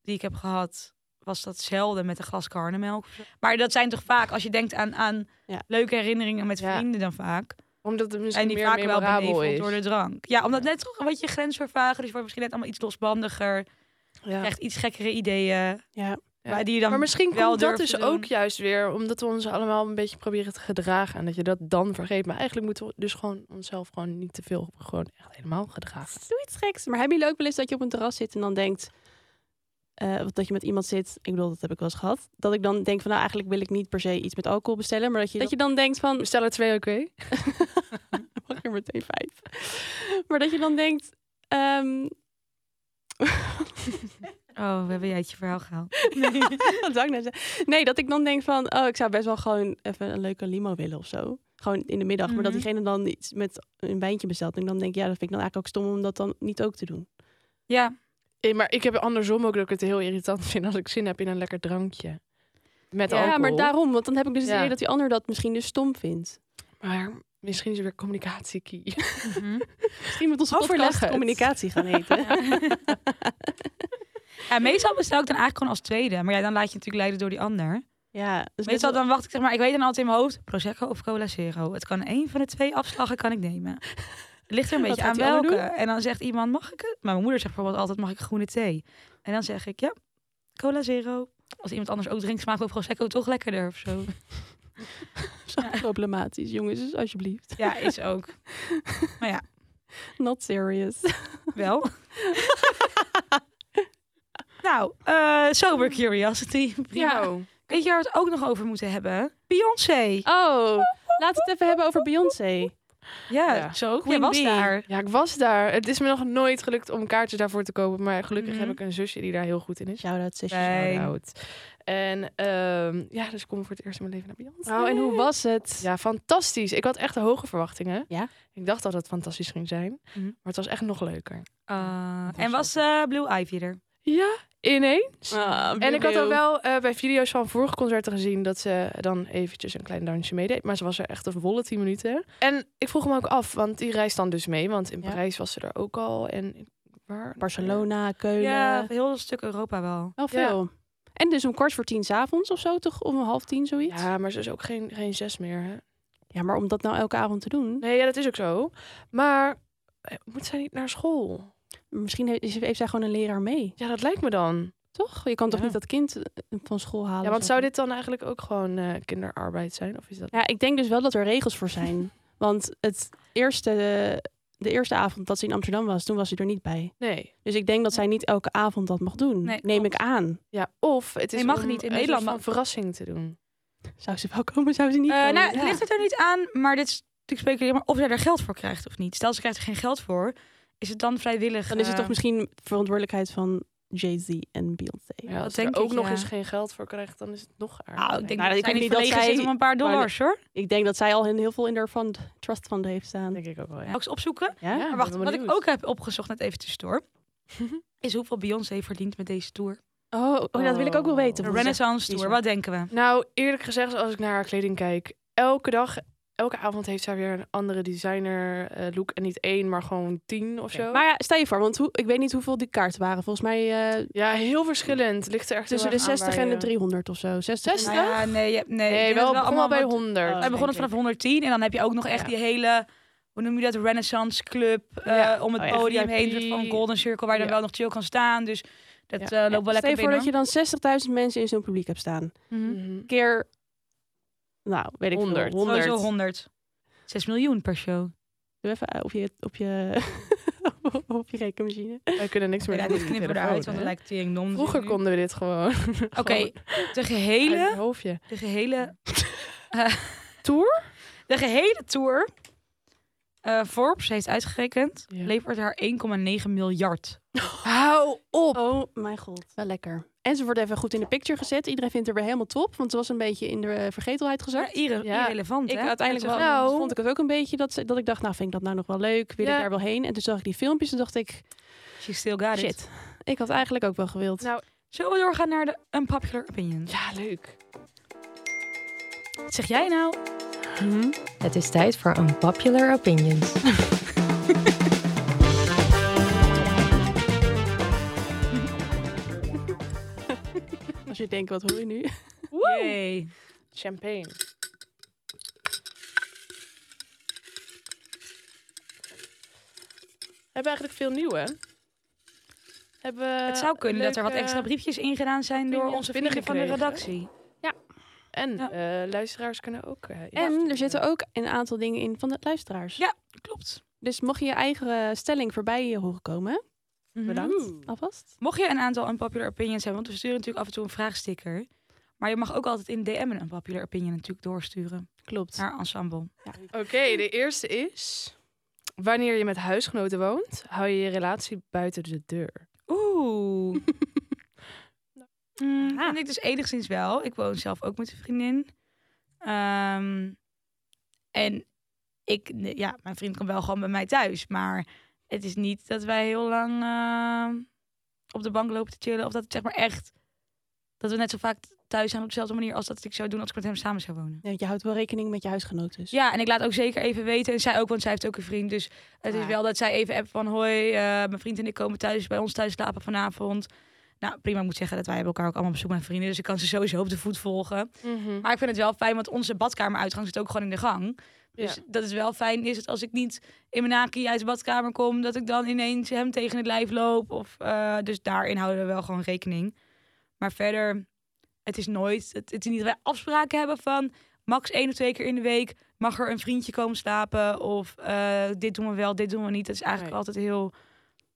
[SPEAKER 3] die ik heb gehad, was dat zelden met een glas karnemelk. of zo. Maar dat zijn toch vaak, als je denkt aan, aan
[SPEAKER 1] Ja.
[SPEAKER 3] leuke herinneringen met
[SPEAKER 2] Ja.
[SPEAKER 3] vrienden dan vaak.
[SPEAKER 2] Omdat het misschien
[SPEAKER 3] En die
[SPEAKER 2] meer
[SPEAKER 3] vaak wel
[SPEAKER 2] memorabel
[SPEAKER 3] beneveld
[SPEAKER 2] is.
[SPEAKER 3] door de drank. Ja, omdat net toch een beetje grensvervagen. Dus je wordt misschien net allemaal iets losbandiger.
[SPEAKER 2] Ja.
[SPEAKER 3] Krijgt iets gekkere ideeën.
[SPEAKER 1] ja.
[SPEAKER 2] Ja.
[SPEAKER 3] Maar die je dan
[SPEAKER 2] maar misschien
[SPEAKER 3] wel
[SPEAKER 2] komt dat
[SPEAKER 3] durft
[SPEAKER 2] dus
[SPEAKER 3] te doen.
[SPEAKER 2] ook juist weer omdat we ons allemaal een beetje proberen te gedragen. En dat je dat dan vergeet. Maar eigenlijk moeten we dus gewoon onszelf gewoon niet te veel gewoon echt helemaal gedragen.
[SPEAKER 1] Doe iets geks. Maar hebben jullie ook wel eens dat je op een terras zit en dan denkt... eh, of dat je met iemand zit, ik bedoel, dat heb ik wel eens gehad. Dat ik dan denk van, nou, eigenlijk wil ik niet per se iets met alcohol bestellen. Maar dat je, dat je dan denkt van,
[SPEAKER 2] Bestel er twee, oké?
[SPEAKER 1] mag er meteen vijf. maar dat je dan denkt, ehm,
[SPEAKER 3] Oh, we hebben jij het je verhaal gehaald.
[SPEAKER 1] Wat zou ik nou zeggen? Nee, dat ik dan denk van, oh, ik zou best wel gewoon even een leuke limo willen of zo. Gewoon in de middag. Maar dat
[SPEAKER 3] Mhm.
[SPEAKER 1] diegene dan iets met een wijntje bestelt. En ik dan denk, ja, dat vind ik dan eigenlijk ook stom om dat dan niet ook te doen.
[SPEAKER 3] Ja,
[SPEAKER 2] Eh, Maar ik heb andersom ook dat ik het heel irritant vind als ik zin heb in een lekker drankje. Met
[SPEAKER 1] ja,
[SPEAKER 2] alcohol.
[SPEAKER 1] maar daarom. Want dan heb ik dus het
[SPEAKER 2] Ja.
[SPEAKER 1] idee dat die ander dat misschien dus stom vindt.
[SPEAKER 2] Maar misschien is er weer communicatie key.
[SPEAKER 3] Mhm.
[SPEAKER 1] Misschien moet onze
[SPEAKER 2] Overleg
[SPEAKER 1] podcast
[SPEAKER 2] het.
[SPEAKER 1] communicatie gaan heten.
[SPEAKER 3] ja, meestal bestel ik dan eigenlijk gewoon als tweede. Maar ja, dan laat je natuurlijk leiden door die ander.
[SPEAKER 1] ja, dus net
[SPEAKER 3] Meestal
[SPEAKER 1] wel-
[SPEAKER 3] dan wacht ik zeg maar, ik weet dan altijd in mijn hoofd, Prosecco of Cola Zero. Het kan één van de twee afslagen kan ik nemen. Het ligt er een
[SPEAKER 1] Wat
[SPEAKER 3] beetje
[SPEAKER 1] gaat
[SPEAKER 3] aan
[SPEAKER 1] die ander
[SPEAKER 3] welke. En dan zegt iemand, mag ik het? Maar mijn moeder zegt bijvoorbeeld altijd, mag ik groene thee? En dan zeg ik, ja, Cola Zero. Als iemand anders ook drinkt, smaakt wel Prosecco toch lekkerder of zo.
[SPEAKER 1] zo problematisch, jongens. Dus alsjeblieft.
[SPEAKER 3] Ja, is ook.
[SPEAKER 1] Not serious.
[SPEAKER 3] Wel. nou, eh, Sober Curiosity. Prima. Weet je waar we het ook nog over moeten hebben? Beyoncé.
[SPEAKER 1] Oh, laten we het even hebben over Beyoncé.
[SPEAKER 3] Ja,
[SPEAKER 2] Ja.
[SPEAKER 3] zo. Jij
[SPEAKER 1] Queen
[SPEAKER 3] was
[SPEAKER 1] Bee.
[SPEAKER 3] daar.
[SPEAKER 2] Ja, ik was daar. Het is me nog nooit gelukt om kaartjes daarvoor te kopen. Maar gelukkig
[SPEAKER 3] Mhm.
[SPEAKER 2] heb ik een zusje die daar heel goed in is.
[SPEAKER 1] Shout-out, zusje.
[SPEAKER 3] Nee.
[SPEAKER 2] Shout-out. En ehm, ja, dus ik kom voor het eerst in mijn leven naar Beyoncé.
[SPEAKER 1] Oh, en hoe was het?
[SPEAKER 2] Ja, fantastisch. Ik had echt hoge verwachtingen.
[SPEAKER 1] Ja? Mhm.
[SPEAKER 2] Ik dacht dat het fantastisch ging zijn. Maar het was echt nog leuker.
[SPEAKER 3] Eh,
[SPEAKER 2] Was
[SPEAKER 3] en was eh, Blue Ivy er?
[SPEAKER 2] Ja, ineens.
[SPEAKER 1] Ah,
[SPEAKER 2] En ik had
[SPEAKER 1] Bill.
[SPEAKER 2] al wel eh, bij video's van vorige concerten gezien dat ze dan eventjes een klein dansje meedeed. Maar ze was er echt een volle 10 minuten. En ik vroeg me ook af, want die reist dan dus mee. Want in
[SPEAKER 1] Ja.
[SPEAKER 2] Parijs was ze er ook al. En waar?
[SPEAKER 1] Barcelona, Keulen.
[SPEAKER 3] Ja, heel een stuk Europa wel.
[SPEAKER 1] Wel veel. En dus om kwart voor tien 's avonds of zo, toch? Of om half tien, zoiets?
[SPEAKER 2] Ja, maar ze is ook geen, geen zes meer. Hè?
[SPEAKER 1] Ja, maar om dat nou elke avond te doen.
[SPEAKER 2] Nee, ja, dat is ook zo. Maar eh, moet zij niet naar school?
[SPEAKER 1] Misschien heeft, heeft zij gewoon een leraar mee,
[SPEAKER 2] Ja, dat lijkt me dan.
[SPEAKER 1] toch? Je kan toch
[SPEAKER 3] Ja.
[SPEAKER 1] niet dat kind eh, van school halen?
[SPEAKER 2] Ja, want
[SPEAKER 1] zo?
[SPEAKER 2] zou dit dan eigenlijk ook gewoon eh, kinderarbeid zijn? Of is dat...
[SPEAKER 1] Ja, ik denk dus wel dat er regels voor zijn. want het eerste, de eerste avond dat ze in Amsterdam was, toen was ze er niet bij.
[SPEAKER 2] Nee.
[SPEAKER 1] Dus ik denk dat zij niet elke avond dat mag doen.
[SPEAKER 3] Nee,
[SPEAKER 1] Neem
[SPEAKER 3] klopt.
[SPEAKER 1] ik aan.
[SPEAKER 2] Ja, of het is
[SPEAKER 3] Nee, mag
[SPEAKER 2] om
[SPEAKER 3] niet. In
[SPEAKER 2] een
[SPEAKER 3] Nederland
[SPEAKER 2] soort van
[SPEAKER 3] mag-
[SPEAKER 2] verrassing te doen.
[SPEAKER 1] Zou ze wel komen, zou ze niet
[SPEAKER 3] Eh,
[SPEAKER 1] komen?
[SPEAKER 3] nou,
[SPEAKER 1] Ja.
[SPEAKER 3] het ligt het er niet aan, maar dit is natuurlijk speculeren, maar of jij er geld voor krijgt of niet. Stel, ze krijgt er geen geld voor, is het dan vrijwillig?
[SPEAKER 1] Dan is het
[SPEAKER 3] eh,
[SPEAKER 1] toch misschien verantwoordelijkheid van Jay-Z en Beyoncé.
[SPEAKER 2] Ja, als ze
[SPEAKER 3] denk
[SPEAKER 2] er ook
[SPEAKER 3] ik,
[SPEAKER 2] nog
[SPEAKER 3] ja.
[SPEAKER 2] eens geen geld voor krijgt, dan is het nog erger.
[SPEAKER 3] Nou, ik denk
[SPEAKER 1] Nou,
[SPEAKER 3] dat
[SPEAKER 1] ik
[SPEAKER 3] zij
[SPEAKER 1] weet
[SPEAKER 3] niet
[SPEAKER 1] niet dat
[SPEAKER 3] verlegen
[SPEAKER 1] zij-
[SPEAKER 3] zit om een paar
[SPEAKER 1] maar-
[SPEAKER 3] dollars, hoor.
[SPEAKER 1] Ik denk dat zij al heel veel in haar fund, trust fund heeft staan.
[SPEAKER 2] denk ik ook wel. Ja.
[SPEAKER 3] Mag ik ze opzoeken?
[SPEAKER 1] Ja?
[SPEAKER 2] Ja,
[SPEAKER 3] Maar wacht,
[SPEAKER 2] ben
[SPEAKER 3] wat ik
[SPEAKER 2] benieuwd.
[SPEAKER 3] ook heb opgezocht net even tussendoor, is hoeveel Beyoncé verdient met deze tour.
[SPEAKER 1] Oh, oh, dat wil ik ook wel weten.
[SPEAKER 3] De
[SPEAKER 1] want dat is
[SPEAKER 3] Renaissance Tour,
[SPEAKER 1] bizar.
[SPEAKER 3] wat denken we?
[SPEAKER 2] Nou, eerlijk gezegd, als ik naar haar kleding kijk, elke dag, elke avond heeft zij weer een andere designer eh, look. En niet één, maar gewoon tien of zo.
[SPEAKER 1] Maar ja, stel je voor, want hoe, ik weet niet hoeveel die kaarten waren. Volgens mij eh,
[SPEAKER 2] Ja, heel verschillend. Ligt er echt
[SPEAKER 1] tussen de
[SPEAKER 2] heel erg aan
[SPEAKER 1] 60
[SPEAKER 2] waar
[SPEAKER 1] en de
[SPEAKER 2] je-
[SPEAKER 1] 300 of zo. 60?
[SPEAKER 2] Zestig?
[SPEAKER 3] Nou ja, nee, je- nee, ik
[SPEAKER 2] Nee,
[SPEAKER 3] denk dat
[SPEAKER 2] wel,
[SPEAKER 3] het
[SPEAKER 2] begon
[SPEAKER 3] allemaal
[SPEAKER 2] wel bij
[SPEAKER 3] wat-
[SPEAKER 2] 100.
[SPEAKER 1] Oh,
[SPEAKER 3] Hij
[SPEAKER 1] denk
[SPEAKER 3] begon het
[SPEAKER 1] ik.
[SPEAKER 3] vanaf 110 en dan heb je ook nog echt
[SPEAKER 2] Ja.
[SPEAKER 3] die hele, hoe noem je dat, Renaissance Club eh,
[SPEAKER 2] Ja.
[SPEAKER 3] om het
[SPEAKER 2] Oh ja,
[SPEAKER 3] podium
[SPEAKER 2] VIP.
[SPEAKER 3] heen, een soort van Golden Circle waar je dan
[SPEAKER 2] Ja.
[SPEAKER 3] wel nog chill kan staan. Dus dat
[SPEAKER 2] Ja.
[SPEAKER 3] eh, loopt wel
[SPEAKER 1] Stel
[SPEAKER 3] lekker
[SPEAKER 1] je voor
[SPEAKER 3] binnen.
[SPEAKER 1] dat je dan 60.000 mensen in zo'n publiek hebt staan.
[SPEAKER 3] Mhm.
[SPEAKER 2] Mhm.
[SPEAKER 1] Keer, nou, weet ik
[SPEAKER 2] Honderd.
[SPEAKER 1] veel, 100.
[SPEAKER 3] Sowieso 100. 6 miljoen per show.
[SPEAKER 1] Doe even eh, op je, op je, op je rekenmachine.
[SPEAKER 2] Wij kunnen niks meer
[SPEAKER 3] Ja,
[SPEAKER 2] doen
[SPEAKER 3] dit
[SPEAKER 2] met die
[SPEAKER 3] knippen we
[SPEAKER 2] telefoon,
[SPEAKER 3] eruit, want
[SPEAKER 2] hè?
[SPEAKER 3] dat lijkt tering dom.
[SPEAKER 2] Vroeger
[SPEAKER 3] Nu.
[SPEAKER 2] konden we dit gewoon.
[SPEAKER 3] Oké,
[SPEAKER 2] gewoon
[SPEAKER 3] de
[SPEAKER 2] uit
[SPEAKER 3] gehele,
[SPEAKER 2] het hoofdje.
[SPEAKER 3] de gehele, eh,
[SPEAKER 2] Tour?
[SPEAKER 3] de gehele tour, eh, Forbes heeft uitgerekend,
[SPEAKER 2] Ja.
[SPEAKER 3] levert haar 1,9 miljard.
[SPEAKER 2] Hou op!
[SPEAKER 1] Oh mijn god. Wel lekker. En ze wordt even goed in de picture gezet. Iedereen vindt haar weer helemaal top, want ze was een beetje in de eh, vergetelheid gezakt.
[SPEAKER 3] Ja, irre-
[SPEAKER 2] Ja.
[SPEAKER 3] irrelevant,
[SPEAKER 1] Ik
[SPEAKER 3] hè?
[SPEAKER 1] uiteindelijk wel,
[SPEAKER 2] Nou.
[SPEAKER 1] vond ik het ook een beetje dat, ze- dat ik dacht, nou vind ik dat nou nog wel leuk, wil
[SPEAKER 2] Ja.
[SPEAKER 1] ik daar wel heen? En toen zag ik die filmpjes en dacht ik,
[SPEAKER 3] She still got it.
[SPEAKER 1] shit, ik had eigenlijk ook wel gewild.
[SPEAKER 2] Nou,
[SPEAKER 3] Zullen we doorgaan naar de unpopular opinions?
[SPEAKER 2] Ja, leuk.
[SPEAKER 3] Wat zeg jij nou?
[SPEAKER 5] Het is tijd voor Unpopular Opinions.
[SPEAKER 1] Als je denkt, wat hoor je nu?
[SPEAKER 3] Yay.
[SPEAKER 2] Champagne. We hebben eigenlijk veel nieuw, hè? Hebben we
[SPEAKER 3] het zou kunnen dat er wat
[SPEAKER 2] leuke-
[SPEAKER 3] extra briefjes ingedaan zijn door
[SPEAKER 2] dingen
[SPEAKER 3] onze vrienden van de
[SPEAKER 2] binnengekregen.
[SPEAKER 3] redactie.
[SPEAKER 2] En
[SPEAKER 3] Ja.
[SPEAKER 2] eh, luisteraars kunnen ook. eh, ja,
[SPEAKER 1] En er
[SPEAKER 2] sturen.
[SPEAKER 1] zitten ook een aantal dingen in van de luisteraars.
[SPEAKER 3] Ja. Klopt.
[SPEAKER 1] Dus mocht je je eigen eh, stelling voorbij eh, horen komen,
[SPEAKER 2] Mhm.
[SPEAKER 1] bedankt alvast.
[SPEAKER 3] Mocht je een aantal unpopular opinions hebben, want we sturen natuurlijk af en toe een vraagsticker. Maar je mag ook altijd in DM een unpopular opinion natuurlijk doorsturen
[SPEAKER 1] Klopt.
[SPEAKER 3] naar Ensemble.
[SPEAKER 2] Oké, de eerste is. Wanneer je met huisgenoten woont, hou je je relatie buiten de deur.
[SPEAKER 3] Oeh. Mm,
[SPEAKER 1] Ah.
[SPEAKER 3] Vind ik dus enigszins wel. Ik woon zelf ook met een vriendin. Ehm, en ik, ja, mijn vriend komt wel gewoon bij mij thuis. Maar het is niet dat wij heel lang ehm, op de bank lopen te chillen. Of dat het zeg maar echt, dat we net zo vaak thuis zijn op dezelfde manier als dat ik zou doen als ik met hem samen zou wonen.
[SPEAKER 1] Ja, want je houdt wel rekening met je huisgenoten. dus.
[SPEAKER 3] Ja, en ik laat ook zeker even weten. En zij ook, want zij heeft ook een vriend. Dus het is
[SPEAKER 1] Ah.
[SPEAKER 3] wel dat zij even app van... Hoi, eh, mijn vriend en ik komen thuis bij ons thuis slapen vanavond. Nou, prima. Ik moet zeggen dat wij hebben elkaar ook allemaal op zoek naar vrienden. Dus ik kan ze sowieso op de voet volgen. Maar ik vind het wel fijn, want onze badkameruitgang zit ook gewoon in de gang. Dus
[SPEAKER 2] Ja.
[SPEAKER 3] dat is wel fijn. Is het als ik niet in mijn naki uit de badkamer kom... dat ik dan ineens hem tegen het lijf loop. Of, eh, dus daarin houden we wel gewoon rekening. Maar verder, het is nooit... Het, het is niet dat wij afspraken hebben van... max één of twee keer in de week mag er een vriendje komen slapen. Of eh, dit doen we wel, dit doen we niet. Dat is eigenlijk
[SPEAKER 2] Nee.
[SPEAKER 3] altijd heel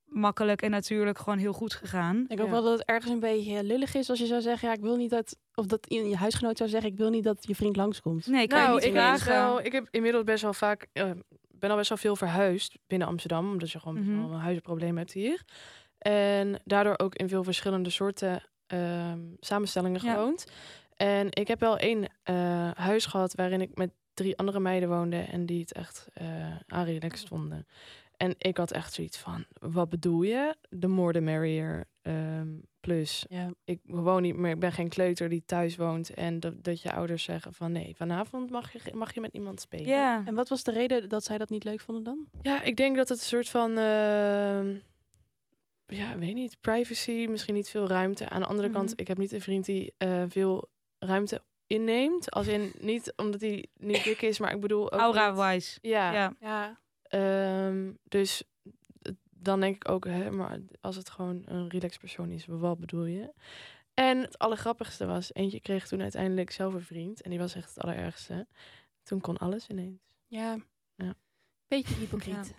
[SPEAKER 3] makkelijk en natuurlijk gewoon heel goed gegaan.
[SPEAKER 1] Ik hoop
[SPEAKER 2] Ja.
[SPEAKER 1] wel dat het ergens een beetje eh, lullig is als je zou zeggen, ja, ik wil niet dat, of dat i- je huisgenoot zou zeggen, ik wil niet dat je vriend langskomt.
[SPEAKER 3] Nee, kan je
[SPEAKER 2] nou,
[SPEAKER 3] niet
[SPEAKER 2] ik, heb
[SPEAKER 3] vragen.
[SPEAKER 2] wel, ik heb inmiddels best wel vaak. eh, ben al best wel veel verhuisd binnen Amsterdam. Omdat je gewoon best
[SPEAKER 3] Mhm.
[SPEAKER 2] wel een huizenprobleem hebt hier. En daardoor ook in veel verschillende soorten ehm, samenstellingen
[SPEAKER 3] Ja.
[SPEAKER 2] gewoond. En ik heb wel één eh, huis gehad waarin ik met drie andere meiden woonde. En die het echt eh aan relaxed vonden. En ik had echt zoiets van, wat bedoel je? De more the merrier. ehm, plus
[SPEAKER 1] Ja.
[SPEAKER 2] ik woon niet meer, ik ben geen kleuter die thuis woont. En dat, dat je ouders zeggen van nee, vanavond mag je, ge- mag je met iemand spelen.
[SPEAKER 3] Ja.
[SPEAKER 1] En wat was de reden dat zij dat niet leuk vonden dan?
[SPEAKER 2] Ja, ik denk dat het een soort van, ehm, ja, weet niet, privacy, misschien niet veel ruimte. Aan de andere kant,
[SPEAKER 3] Mhm.
[SPEAKER 2] ik heb niet een vriend die eh, veel ruimte inneemt. Als in, niet omdat hij niet dik is, maar ik bedoel ook niet-
[SPEAKER 3] Aura-wise.
[SPEAKER 2] Ja,
[SPEAKER 3] Ja.
[SPEAKER 1] Ja.
[SPEAKER 2] ehm, dus d- dan denk ik ook, hè, maar als het gewoon een relaxed persoon is, wat bedoel je? En het allergrappigste was, eentje kreeg toen uiteindelijk zelf een vriend. En die was echt het allerergste. Toen kon alles ineens.
[SPEAKER 1] Ja.
[SPEAKER 2] Ja.
[SPEAKER 1] Beetje hypocriet.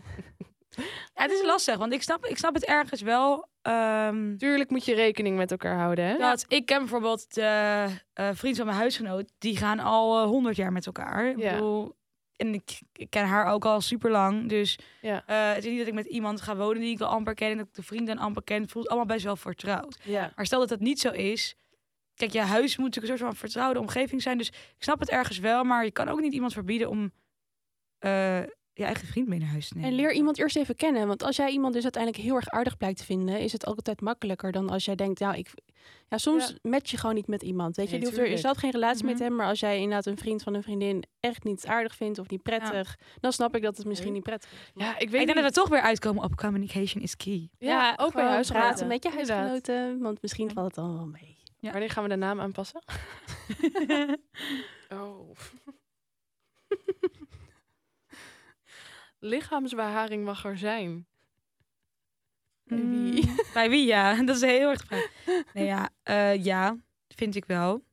[SPEAKER 3] Ja, het is lastig, want ik snap, ik snap het ergens wel. ehm,
[SPEAKER 2] Tuurlijk moet je rekening met elkaar houden, hè?
[SPEAKER 3] dat ik ken bijvoorbeeld eh eh, vriend van mijn huisgenoot, die gaan al eh, honderd jaar met elkaar. Ik
[SPEAKER 2] Ja.
[SPEAKER 3] bedoel, en ik, ik ken haar ook al super lang. Dus
[SPEAKER 2] Ja.
[SPEAKER 3] eh, het is niet dat ik met iemand ga wonen die ik al amper ken en dat ik de vrienden amper ken. Het voelt allemaal best wel vertrouwd.
[SPEAKER 2] Ja.
[SPEAKER 3] Maar stel dat dat niet zo is. Kijk, je huis moet natuurlijk een soort van vertrouwde omgeving zijn. Dus ik snap het ergens wel, maar je kan ook niet iemand verbieden om eh, je eigen vriend mee naar huis te nemen.
[SPEAKER 1] En leer iemand eerst even kennen. Want als jij iemand dus uiteindelijk heel erg aardig blijkt te vinden, is het altijd makkelijker dan als jij denkt, nou, ik. Ja, soms match je gewoon niet met iemand. Weet je,
[SPEAKER 2] Nee,
[SPEAKER 1] die hoeft er, je
[SPEAKER 2] tuurlijk.
[SPEAKER 1] zat geen relatie
[SPEAKER 3] Mhm.
[SPEAKER 1] met hem. Maar als jij inderdaad een vriend van een vriendin echt niet aardig vindt of niet prettig, dan snap ik dat het misschien
[SPEAKER 2] Nee.
[SPEAKER 1] niet prettig is.
[SPEAKER 2] Ja, ik weet
[SPEAKER 3] Ik denk dat
[SPEAKER 2] niet.
[SPEAKER 3] we toch weer uitkomen op communication is key.
[SPEAKER 2] Ja, ook bij
[SPEAKER 1] gewoon
[SPEAKER 2] huisgenoten.
[SPEAKER 1] praten met je
[SPEAKER 2] Inderdaad.
[SPEAKER 1] huisgenoten, want misschien valt het dan wel mee.
[SPEAKER 3] Ja.
[SPEAKER 2] Wanneer gaan we de naam aanpassen?
[SPEAKER 3] Mm.
[SPEAKER 2] Oh. Lichaamsbeharing mag er zijn.
[SPEAKER 1] Bij wie?
[SPEAKER 3] Mm, Bij wie, ja. Dat is heel erg de vraag. Nee, ja, eh, ja, vind ik wel.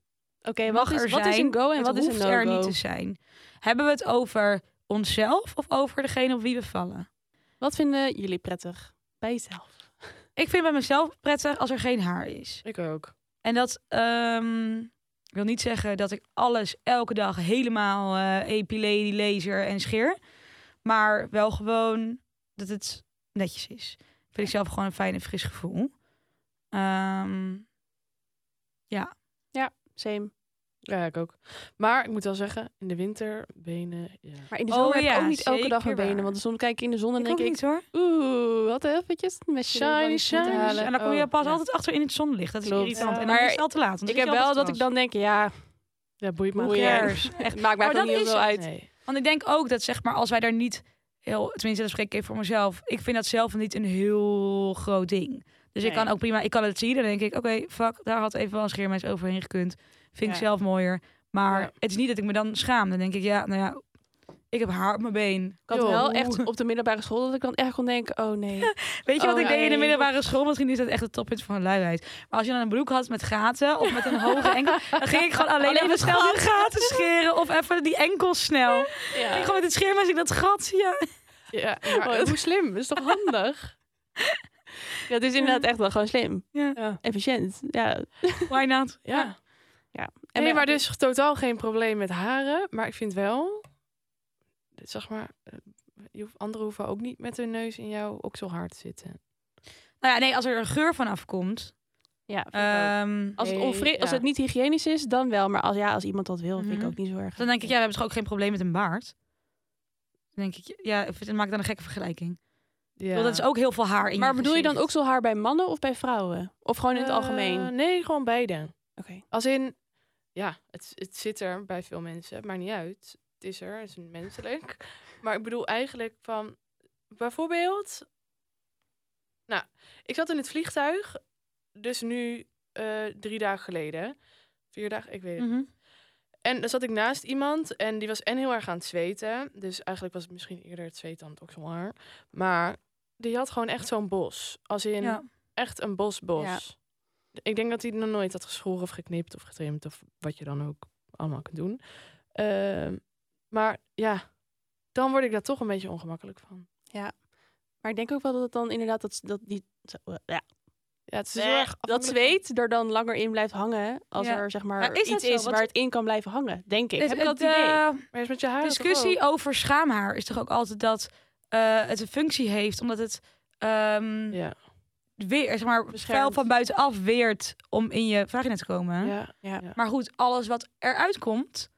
[SPEAKER 1] Oké, wat, is, wat is een go en
[SPEAKER 3] het
[SPEAKER 1] wat is een
[SPEAKER 3] hoeft er
[SPEAKER 1] no-go?
[SPEAKER 3] niet te zijn. Hebben we het over onszelf of over degene op wie we vallen?
[SPEAKER 1] Wat vinden jullie prettig bij jezelf?
[SPEAKER 3] Ik vind bij mezelf prettig als er geen haar is.
[SPEAKER 2] Ik ook.
[SPEAKER 3] En dat ehm, wil niet zeggen dat ik alles elke dag helemaal eh epilady, laser en scheer. Maar wel gewoon dat het netjes is. Vind ik zelf gewoon een fijn en fris gevoel. Ehm,
[SPEAKER 1] Same.
[SPEAKER 2] Ja, ik ook. Maar ik moet wel zeggen, in de winter, benen, ja.
[SPEAKER 1] Maar in de
[SPEAKER 3] Oh
[SPEAKER 1] zomer heb ik
[SPEAKER 3] ja,
[SPEAKER 1] ook niet elke dag
[SPEAKER 3] zeker
[SPEAKER 1] mijn benen.
[SPEAKER 3] waar.
[SPEAKER 1] Want soms kijk ik in de zon en
[SPEAKER 3] ik
[SPEAKER 1] denk
[SPEAKER 3] ook
[SPEAKER 1] ik...
[SPEAKER 3] niet hoor.
[SPEAKER 1] Oeh, wat eventjes. een mesje
[SPEAKER 2] Shiny,
[SPEAKER 1] erbij moeten
[SPEAKER 2] shiny,
[SPEAKER 1] halen.
[SPEAKER 2] shiny.
[SPEAKER 3] En dan kom je
[SPEAKER 2] Oh,
[SPEAKER 3] pas
[SPEAKER 2] ja.
[SPEAKER 3] altijd achter in het zonlicht. Dat is
[SPEAKER 2] Klopt.
[SPEAKER 3] irritant.
[SPEAKER 1] Ja.
[SPEAKER 3] En dan
[SPEAKER 1] Maar
[SPEAKER 3] is het al te laat. want
[SPEAKER 1] Ik
[SPEAKER 3] dan
[SPEAKER 1] heb
[SPEAKER 3] zit je al
[SPEAKER 1] wel
[SPEAKER 3] op
[SPEAKER 1] dat
[SPEAKER 3] het
[SPEAKER 1] ik
[SPEAKER 3] terras.
[SPEAKER 1] dan denk, ja,
[SPEAKER 2] Ja, boeit me
[SPEAKER 1] Boeit.
[SPEAKER 2] geen
[SPEAKER 1] Ja.
[SPEAKER 2] reet.
[SPEAKER 3] Cares. Echt.
[SPEAKER 1] maakt mij
[SPEAKER 3] Maar
[SPEAKER 1] toch
[SPEAKER 3] dat
[SPEAKER 1] niet heel
[SPEAKER 3] is
[SPEAKER 1] veel
[SPEAKER 3] het.
[SPEAKER 1] uit.
[SPEAKER 2] Nee.
[SPEAKER 3] Want ik denk ook dat zeg maar als wij daar niet heel, tenminste dat spreek ik even voor mezelf. Ik vind dat zelf niet een heel groot ding. Dus ik
[SPEAKER 2] Nee.
[SPEAKER 3] kan ook prima, ik kan het zien. Dan denk ik, oké, fuck, daar had even wel een scheermes overheen gekund. Vind ik
[SPEAKER 2] Ja.
[SPEAKER 3] zelf mooier. Maar
[SPEAKER 2] Ja.
[SPEAKER 3] het is niet dat ik me dan schaam. Dan denk ik, ja, nou ja, Ik heb haar op mijn been.
[SPEAKER 1] Ik had
[SPEAKER 2] Joh.
[SPEAKER 1] wel echt op de middelbare school dat ik dan echt kon denken, oh nee.
[SPEAKER 3] Weet je wat
[SPEAKER 1] Oh,
[SPEAKER 3] ik deed in de
[SPEAKER 1] nee.
[SPEAKER 3] middelbare school? Misschien is dat echt het toppunt van luiheid. Maar als je dan een broek had met gaten of met een hoge enkel, dan ging ik gewoon alleen,
[SPEAKER 1] Alleen
[SPEAKER 3] even
[SPEAKER 1] met
[SPEAKER 3] snel die gaten scheren of even die enkel snel. Ik ging
[SPEAKER 1] Ja.
[SPEAKER 3] gewoon met het scheermes in dat gat. Ja.
[SPEAKER 2] Ja,
[SPEAKER 1] Maar hoe slim, is toch handig? ja, het is inderdaad echt wel gewoon slim.
[SPEAKER 3] Ja.
[SPEAKER 1] Efficiënt, ja.
[SPEAKER 3] Why not?
[SPEAKER 2] ja.
[SPEAKER 1] Ja.
[SPEAKER 2] En nee,
[SPEAKER 1] bij-
[SPEAKER 2] maar dus totaal geen probleem met haren. Maar ik vind wel, zeg maar, eh, je hoeft, anderen hoeven ook niet met hun neus in jouw okselhaar te zitten.
[SPEAKER 3] Nou ja, nee, als er een geur van afkomt.
[SPEAKER 1] Ja, vind ik ook. Oh,
[SPEAKER 3] ehm,
[SPEAKER 1] Eh, als, het
[SPEAKER 2] nee,
[SPEAKER 1] onvri- als
[SPEAKER 2] ja.
[SPEAKER 1] het niet hygiënisch is, dan wel. Maar als, ja, als iemand dat wil, vind
[SPEAKER 3] Mhm.
[SPEAKER 1] ik ook niet zo erg.
[SPEAKER 3] dan denk ik, ja, we hebben toch ook geen probleem met een baard? Dan denk ik, ja, ik vind- maak dan een gekke vergelijking.
[SPEAKER 2] Ja.
[SPEAKER 3] Want dat is ook heel veel haar in
[SPEAKER 1] maar bedoel je dan
[SPEAKER 3] gezicht.
[SPEAKER 1] ook zo haar bij mannen of bij vrouwen? Of gewoon in het algemeen?
[SPEAKER 2] Eh,
[SPEAKER 1] Oké.
[SPEAKER 2] nee, gewoon beide. Als in, ja, het, het zit er bij veel mensen, het maakt niet uit. Het is er, het is menselijk. Maar ik bedoel eigenlijk van, bijvoorbeeld, nou, ik zat in het vliegtuig, dus nu eh, drie dagen geleden, vier dagen, ik weet het.
[SPEAKER 3] Mhm.
[SPEAKER 2] En dan zat ik naast iemand en die was en heel erg aan het zweten, dus eigenlijk was het misschien eerder het zweet dan het okselhaar. Maar die had gewoon echt zo'n bos, als in
[SPEAKER 3] Ja.
[SPEAKER 2] echt een bosbos.
[SPEAKER 1] Ja.
[SPEAKER 2] Ik denk dat hij nog nooit had geschoren of geknipt of getrimd of wat je dan ook allemaal kunt doen. Ehm, maar ja, dan word ik daar toch een beetje ongemakkelijk van.
[SPEAKER 1] Maar ik denk ook wel dat het dan inderdaad dat, dat die... zo- Ja,
[SPEAKER 2] Ja, het is dus heel erg
[SPEAKER 1] dat
[SPEAKER 2] afhankelijk van-
[SPEAKER 1] zweet er dan langer in blijft hangen als
[SPEAKER 3] Ja.
[SPEAKER 1] er zeg maar,
[SPEAKER 3] Maar is dat
[SPEAKER 1] iets
[SPEAKER 3] zo?
[SPEAKER 1] is
[SPEAKER 3] Want-
[SPEAKER 1] waar het in kan blijven hangen, denk ik.
[SPEAKER 3] Het-
[SPEAKER 1] Heb ik dat
[SPEAKER 3] het,
[SPEAKER 1] idee?
[SPEAKER 3] eh,
[SPEAKER 2] Maar is met je haar toch
[SPEAKER 3] discussie
[SPEAKER 2] ook?
[SPEAKER 3] over schaamhaar is toch ook altijd dat eh, het een functie heeft, omdat het ehm,
[SPEAKER 2] Ja,
[SPEAKER 3] weer, zeg maar, vuil
[SPEAKER 1] Beschermt.
[SPEAKER 3] van buitenaf weert om in je vagina te komen.
[SPEAKER 2] ja.
[SPEAKER 3] Maar goed, alles wat eruit komt,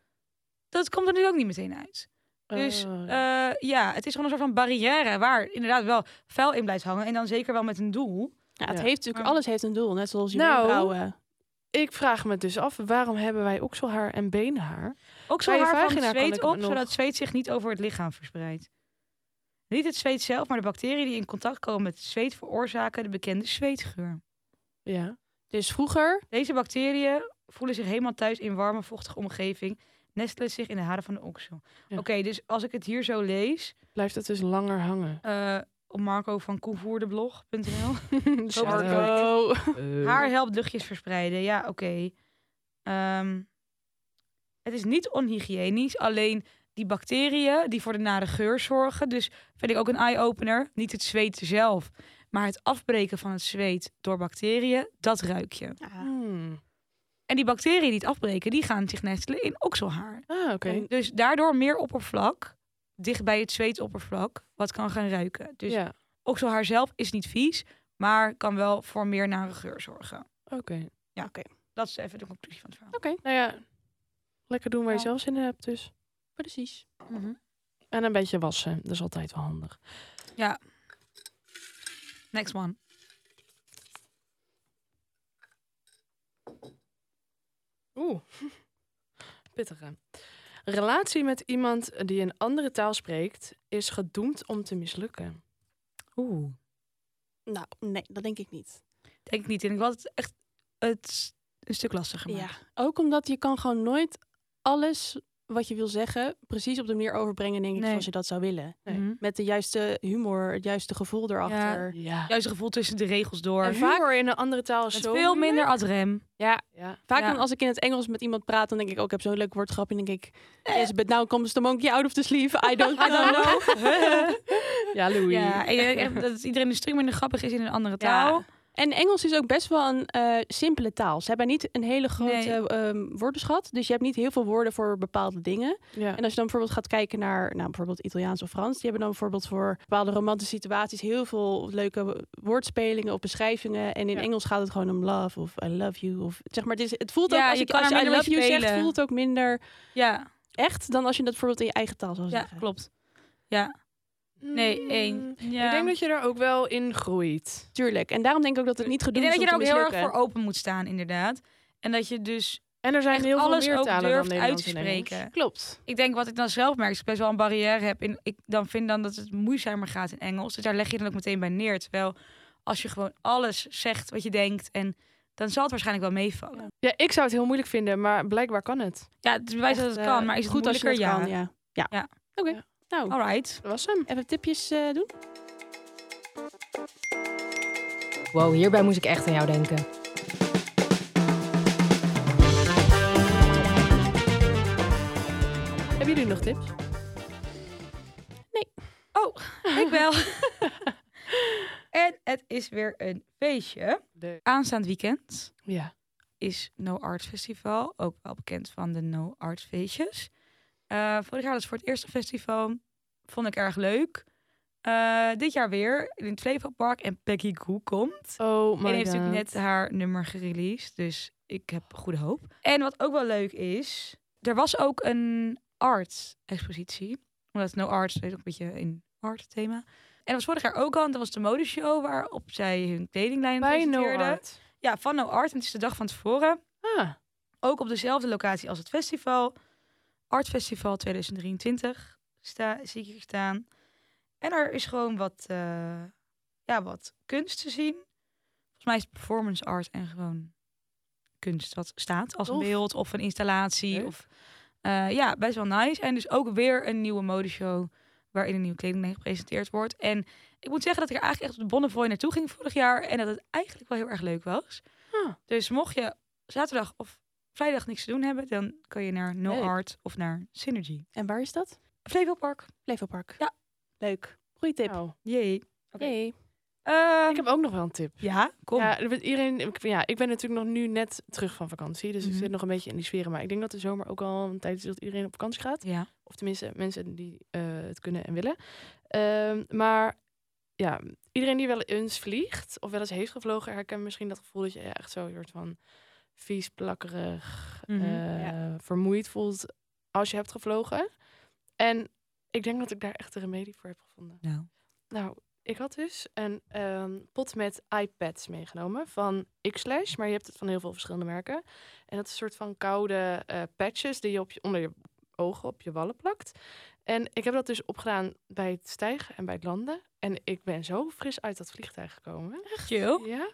[SPEAKER 3] dat komt er nu ook niet meteen uit. Dus
[SPEAKER 2] Eh,
[SPEAKER 3] eh, ja, het is gewoon een soort van barrière waar inderdaad wel vuil in blijft hangen. En dan zeker wel met een doel.
[SPEAKER 1] Ja, het
[SPEAKER 2] Ja.
[SPEAKER 1] heeft natuurlijk,
[SPEAKER 3] Maar-
[SPEAKER 1] alles heeft een doel. Net zoals je
[SPEAKER 2] Nou,
[SPEAKER 1] wenkbrauwen.
[SPEAKER 2] ik vraag me dus af, waarom hebben wij okselhaar en benenhaar?
[SPEAKER 3] Ook zo
[SPEAKER 2] Bij je
[SPEAKER 3] haar van
[SPEAKER 2] vagina kan
[SPEAKER 3] zweet
[SPEAKER 2] ik
[SPEAKER 3] op,
[SPEAKER 2] nog-
[SPEAKER 3] zodat het zweet zich niet over het lichaam verspreidt. Niet het zweet zelf, maar de bacteriën die in contact komen met het zweet veroorzaken de bekende zweetgeur.
[SPEAKER 2] Ja.
[SPEAKER 1] Dus vroeger,
[SPEAKER 3] Deze bacteriën voelen zich helemaal thuis in warme, vochtige omgeving. Nestelen zich in de haren van de oksel.
[SPEAKER 2] Ja.
[SPEAKER 3] Oké, dus als ik het hier zo lees
[SPEAKER 2] Blijft het dus langer hangen.
[SPEAKER 3] eh, op Marco van koevoerdeblog.nl.
[SPEAKER 2] Shout-out.
[SPEAKER 1] Marco.
[SPEAKER 3] Haar
[SPEAKER 2] Eh.
[SPEAKER 3] helpt luchtjes verspreiden. Ja, oké. Ehm, het is niet onhygiënisch, alleen die bacteriën die voor de nare geur zorgen. Dus vind ik ook een eye-opener. Niet het zweet zelf, maar het afbreken van het zweet door bacteriën, dat ruik je.
[SPEAKER 2] Hmm.
[SPEAKER 3] En die bacteriën die het afbreken, die gaan zich nestelen in okselhaar.
[SPEAKER 2] Ah, oké.
[SPEAKER 3] En Dus daardoor meer oppervlak, dicht bij het zweetoppervlak, wat kan gaan ruiken. Dus
[SPEAKER 2] Ja,
[SPEAKER 3] okselhaar zelf is niet vies, maar kan wel voor meer nare geur zorgen.
[SPEAKER 2] oké.
[SPEAKER 3] Dat is even de conclusie van het verhaal.
[SPEAKER 2] Nou ja, lekker doen waar je
[SPEAKER 3] Ja.
[SPEAKER 2] zelf zin in hebt dus.
[SPEAKER 1] Precies.
[SPEAKER 2] En een beetje wassen, dat is altijd wel handig.
[SPEAKER 3] Next one.
[SPEAKER 2] Oeh, pittige. Relatie met iemand die een andere taal spreekt is gedoemd om te mislukken.
[SPEAKER 3] Oeh.
[SPEAKER 1] Nou, nee, dat denk ik niet.
[SPEAKER 3] Denk ik niet. En ik had het echt het een stuk lastiger
[SPEAKER 1] Ja.
[SPEAKER 3] gemaakt.
[SPEAKER 1] Ook omdat je kan gewoon nooit alles wat je wil zeggen, precies op de manier overbrengen, denk ik,
[SPEAKER 3] Nee.
[SPEAKER 1] zoals je dat zou willen. Mm-hmm.
[SPEAKER 2] Nee.
[SPEAKER 3] Mhm.
[SPEAKER 1] Met de juiste humor, het juiste gevoel erachter.
[SPEAKER 2] Ja.
[SPEAKER 3] Juist het gevoel tussen de regels door.
[SPEAKER 2] En
[SPEAKER 3] vaak
[SPEAKER 2] humor in een andere taal is
[SPEAKER 3] met
[SPEAKER 2] zo
[SPEAKER 3] veel
[SPEAKER 2] moeilijk.
[SPEAKER 3] minder ad rem.
[SPEAKER 2] Ja.
[SPEAKER 1] Vaak
[SPEAKER 3] Ja.
[SPEAKER 1] dan als ik in het Engels met iemand praat, dan denk ik ook, ik heb zo'n leuk woordgrap. En denk ik, yes, but now comes the monkey out of the sleeve. I don't know.
[SPEAKER 2] ja, Louis.
[SPEAKER 3] ja, en ik denk echt dat iedereen een stuk minder grappig is in een andere
[SPEAKER 1] Ja.
[SPEAKER 3] taal.
[SPEAKER 1] En Engels is ook best wel een eh, simpele taal. Ze hebben niet een hele grote
[SPEAKER 3] Nee.
[SPEAKER 1] ehm, woordenschat. Dus je hebt niet heel veel woorden voor bepaalde dingen.
[SPEAKER 2] Ja.
[SPEAKER 1] En als je dan bijvoorbeeld gaat kijken naar nou, bijvoorbeeld Italiaans of Frans, die hebben dan bijvoorbeeld voor bepaalde romantische situaties heel veel leuke wo- woordspelingen of beschrijvingen. En in
[SPEAKER 2] Ja.
[SPEAKER 1] Engels gaat het gewoon om love of I love you. Of, zeg maar, het, is, het voelt
[SPEAKER 3] Ja,
[SPEAKER 1] ook als
[SPEAKER 3] je
[SPEAKER 1] je,
[SPEAKER 3] kan
[SPEAKER 1] als
[SPEAKER 3] er
[SPEAKER 1] je I
[SPEAKER 3] minder
[SPEAKER 1] love
[SPEAKER 3] mee
[SPEAKER 1] you zegt,
[SPEAKER 3] spelen.
[SPEAKER 1] voelt het ook minder
[SPEAKER 3] Ja,
[SPEAKER 1] echt dan als je dat bijvoorbeeld in je eigen taal zou
[SPEAKER 3] ja
[SPEAKER 1] zeggen.
[SPEAKER 3] klopt. Nee, één. Ja.
[SPEAKER 2] Mm. Ik denk dat je daar ook wel in groeit.
[SPEAKER 1] Tuurlijk. En daarom denk ik ook dat het niet
[SPEAKER 3] Ik
[SPEAKER 1] gedoemd
[SPEAKER 3] denk
[SPEAKER 1] is
[SPEAKER 3] dat je
[SPEAKER 1] om te
[SPEAKER 3] er ook heel erg
[SPEAKER 1] mislukken.
[SPEAKER 3] voor open moet staan, inderdaad. En dat je dus,
[SPEAKER 2] En er zijn
[SPEAKER 3] Echt
[SPEAKER 2] heel veel
[SPEAKER 3] alles
[SPEAKER 2] meer
[SPEAKER 3] ook
[SPEAKER 2] talen
[SPEAKER 3] durft
[SPEAKER 2] dan Nederlands
[SPEAKER 3] uit te
[SPEAKER 2] en Engels.
[SPEAKER 3] spreken.
[SPEAKER 2] Klopt.
[SPEAKER 3] ik denk wat ik dan zelf merk, is dat ik best wel een barrière heb. En ik dan vind dan dat het moeizamer gaat in Engels. Dus daar leg je dan ook meteen bij neer. Terwijl als je gewoon alles zegt wat je denkt, en dan zal het waarschijnlijk wel meevallen.
[SPEAKER 2] Ja, ik zou het heel moeilijk vinden, maar blijkbaar kan het.
[SPEAKER 3] Ja, het bewijst dat
[SPEAKER 1] Echt,
[SPEAKER 3] het
[SPEAKER 1] eh,
[SPEAKER 3] kan, maar is het
[SPEAKER 1] goed als je
[SPEAKER 3] moeilijker?
[SPEAKER 1] het
[SPEAKER 3] ja.
[SPEAKER 1] kan, ja. Ja.
[SPEAKER 3] Ja.
[SPEAKER 1] Oké, Nou,
[SPEAKER 3] Alright.
[SPEAKER 2] Dat was hem.
[SPEAKER 1] even tipjes eh, doen.
[SPEAKER 5] Wow, hierbij moest ik echt aan jou denken.
[SPEAKER 2] Hebben jullie nog tips?
[SPEAKER 3] Ik wel. en het is weer een feestje. Aanstaand weekend.
[SPEAKER 2] Ja.
[SPEAKER 3] is No Art Festival. Ook wel bekend van de No Art feestjes. Eh, vorig jaar was het voor het eerste festival. Vond ik erg leuk. Eh, dit jaar weer in het Flevopark. En Peggy Goo komt.
[SPEAKER 2] Oh my
[SPEAKER 3] en heeft
[SPEAKER 2] god.
[SPEAKER 3] natuurlijk net haar nummer gereleased. Dus ik heb goede hoop. En wat ook wel leuk is... Er was ook een art-expositie. Omdat No Art is ook een beetje een art-thema. En dat was vorig jaar ook al. En dat was de modeshow waarop zij hun kledinglijn
[SPEAKER 2] Bij No
[SPEAKER 3] presenteerden.
[SPEAKER 2] Art.
[SPEAKER 3] Ja, van No Art. En het is de dag van tevoren.
[SPEAKER 2] Ah,
[SPEAKER 3] Ook op dezelfde locatie als het festival. Art Festival 2023 sta, zie ik hier staan. En er is gewoon wat, eh, ja, wat kunst te zien. Volgens mij is het performance art en gewoon kunst wat staat. Als een
[SPEAKER 2] Tof.
[SPEAKER 3] beeld of een installatie.
[SPEAKER 2] Leuk.
[SPEAKER 3] Of, eh, ja, best wel nice. En dus ook weer een nieuwe modeshow waarin een nieuwe kledinglijn gepresenteerd wordt. En ik moet zeggen dat ik er eigenlijk echt op de Bonnefoy naartoe ging vorig jaar. En dat het eigenlijk wel heel erg leuk was.
[SPEAKER 2] Ah.
[SPEAKER 3] Dus mocht je zaterdag of vrijdag niks te doen hebben, dan kan je naar No
[SPEAKER 2] Leuk.
[SPEAKER 3] Art of naar Synergy.
[SPEAKER 1] En waar is dat?
[SPEAKER 3] Flevopark.
[SPEAKER 1] Flevopark.
[SPEAKER 3] Ja.
[SPEAKER 1] Leuk. Goeie tip.
[SPEAKER 2] nou.
[SPEAKER 3] Jee. Oké.
[SPEAKER 1] Hey.
[SPEAKER 3] Ehm,
[SPEAKER 2] Ik heb ook nog wel een tip.
[SPEAKER 3] Ja, kom.
[SPEAKER 2] Ja, er wordt iedereen, ik, ja, ik ben natuurlijk nog nu net terug van vakantie. Dus
[SPEAKER 3] Mhm.
[SPEAKER 2] ik zit nog een beetje in die sferen. Maar ik denk dat de zomer ook al een tijd is dat iedereen op vakantie gaat.
[SPEAKER 3] Ja.
[SPEAKER 2] Of tenminste, mensen die eh, het kunnen en willen. Ehm, maar ja, iedereen die wel eens vliegt of wel eens heeft gevlogen, herkent misschien dat gevoel dat je je echt zo een soort van vies, plakkerig,
[SPEAKER 3] Mhm,
[SPEAKER 2] eh,
[SPEAKER 1] ja.
[SPEAKER 2] vermoeid voelt als je hebt gevlogen. En ik denk dat ik daar echt een remedie voor heb gevonden.
[SPEAKER 3] Nou.
[SPEAKER 2] Nou, ik had dus een ehm, pot met iPads meegenomen van Xlash, maar je hebt het van heel veel verschillende merken. En dat is een soort van koude eh, patches die je, op je onder je ogen op je wallen plakt. En ik heb dat dus opgedaan bij het stijgen en bij het landen. En ik ben zo fris uit dat vliegtuig gekomen.
[SPEAKER 3] Chill.
[SPEAKER 2] Ja.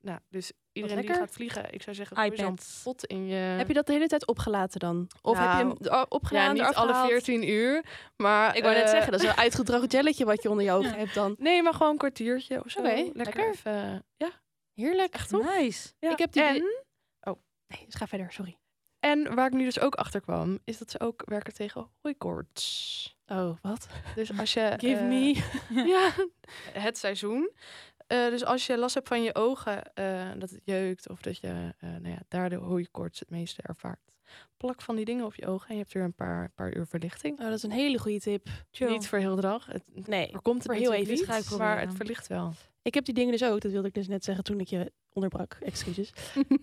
[SPEAKER 2] Nou, dus iedereen die
[SPEAKER 1] Oh. lekker.
[SPEAKER 2] gaat vliegen, ik zou zeggen, gooi zo'n
[SPEAKER 3] iPads.
[SPEAKER 2] pot in je...
[SPEAKER 1] Heb je dat de hele tijd opgelaten dan? Of heb
[SPEAKER 2] Nou,
[SPEAKER 1] je hem er- opgeladen?
[SPEAKER 2] ja, niet
[SPEAKER 1] eraf
[SPEAKER 2] alle
[SPEAKER 1] gehaald?
[SPEAKER 2] 14 uur, maar...
[SPEAKER 1] Ik wou net
[SPEAKER 2] eh,
[SPEAKER 1] zeggen, dat is een uitgedroogd jelletje wat je onder je ogen hebt dan.
[SPEAKER 2] Nee, maar gewoon een kwartiertje of zo.
[SPEAKER 1] Oké,
[SPEAKER 2] lekker.
[SPEAKER 1] lekker.
[SPEAKER 2] Even, eh, ja,
[SPEAKER 1] Heerlijk.
[SPEAKER 2] echt top.
[SPEAKER 3] Nice.
[SPEAKER 2] Ja,
[SPEAKER 1] Ik heb die
[SPEAKER 2] en,
[SPEAKER 1] Nee, dus ga verder, sorry.
[SPEAKER 2] en waar ik nu dus ook achter kwam, is dat ze ook werken tegen hooikoorts.
[SPEAKER 1] Oh, wat?
[SPEAKER 2] Dus als je...
[SPEAKER 1] Give
[SPEAKER 2] eh,
[SPEAKER 1] me.
[SPEAKER 2] ja, het seizoen. Eh, dus als je last hebt van je ogen, eh, dat het jeukt of dat je eh, nou ja, daar de hooikoorts het meeste ervaart. Plak van die dingen op je ogen en je hebt weer een paar, paar uur verlichting.
[SPEAKER 1] Oh, dat is een hele goede tip.
[SPEAKER 3] Chill.
[SPEAKER 2] Niet voor heel de dag. Het
[SPEAKER 1] Nee.
[SPEAKER 2] voorkomt het
[SPEAKER 1] voor heel
[SPEAKER 2] natuurlijk
[SPEAKER 1] even.
[SPEAKER 2] niet,
[SPEAKER 3] Ga ik
[SPEAKER 2] maar
[SPEAKER 3] proberen.
[SPEAKER 2] het verlicht wel.
[SPEAKER 1] Ik heb die dingen dus ook. Dat wilde ik dus net zeggen toen ik je onderbrak. Excuses.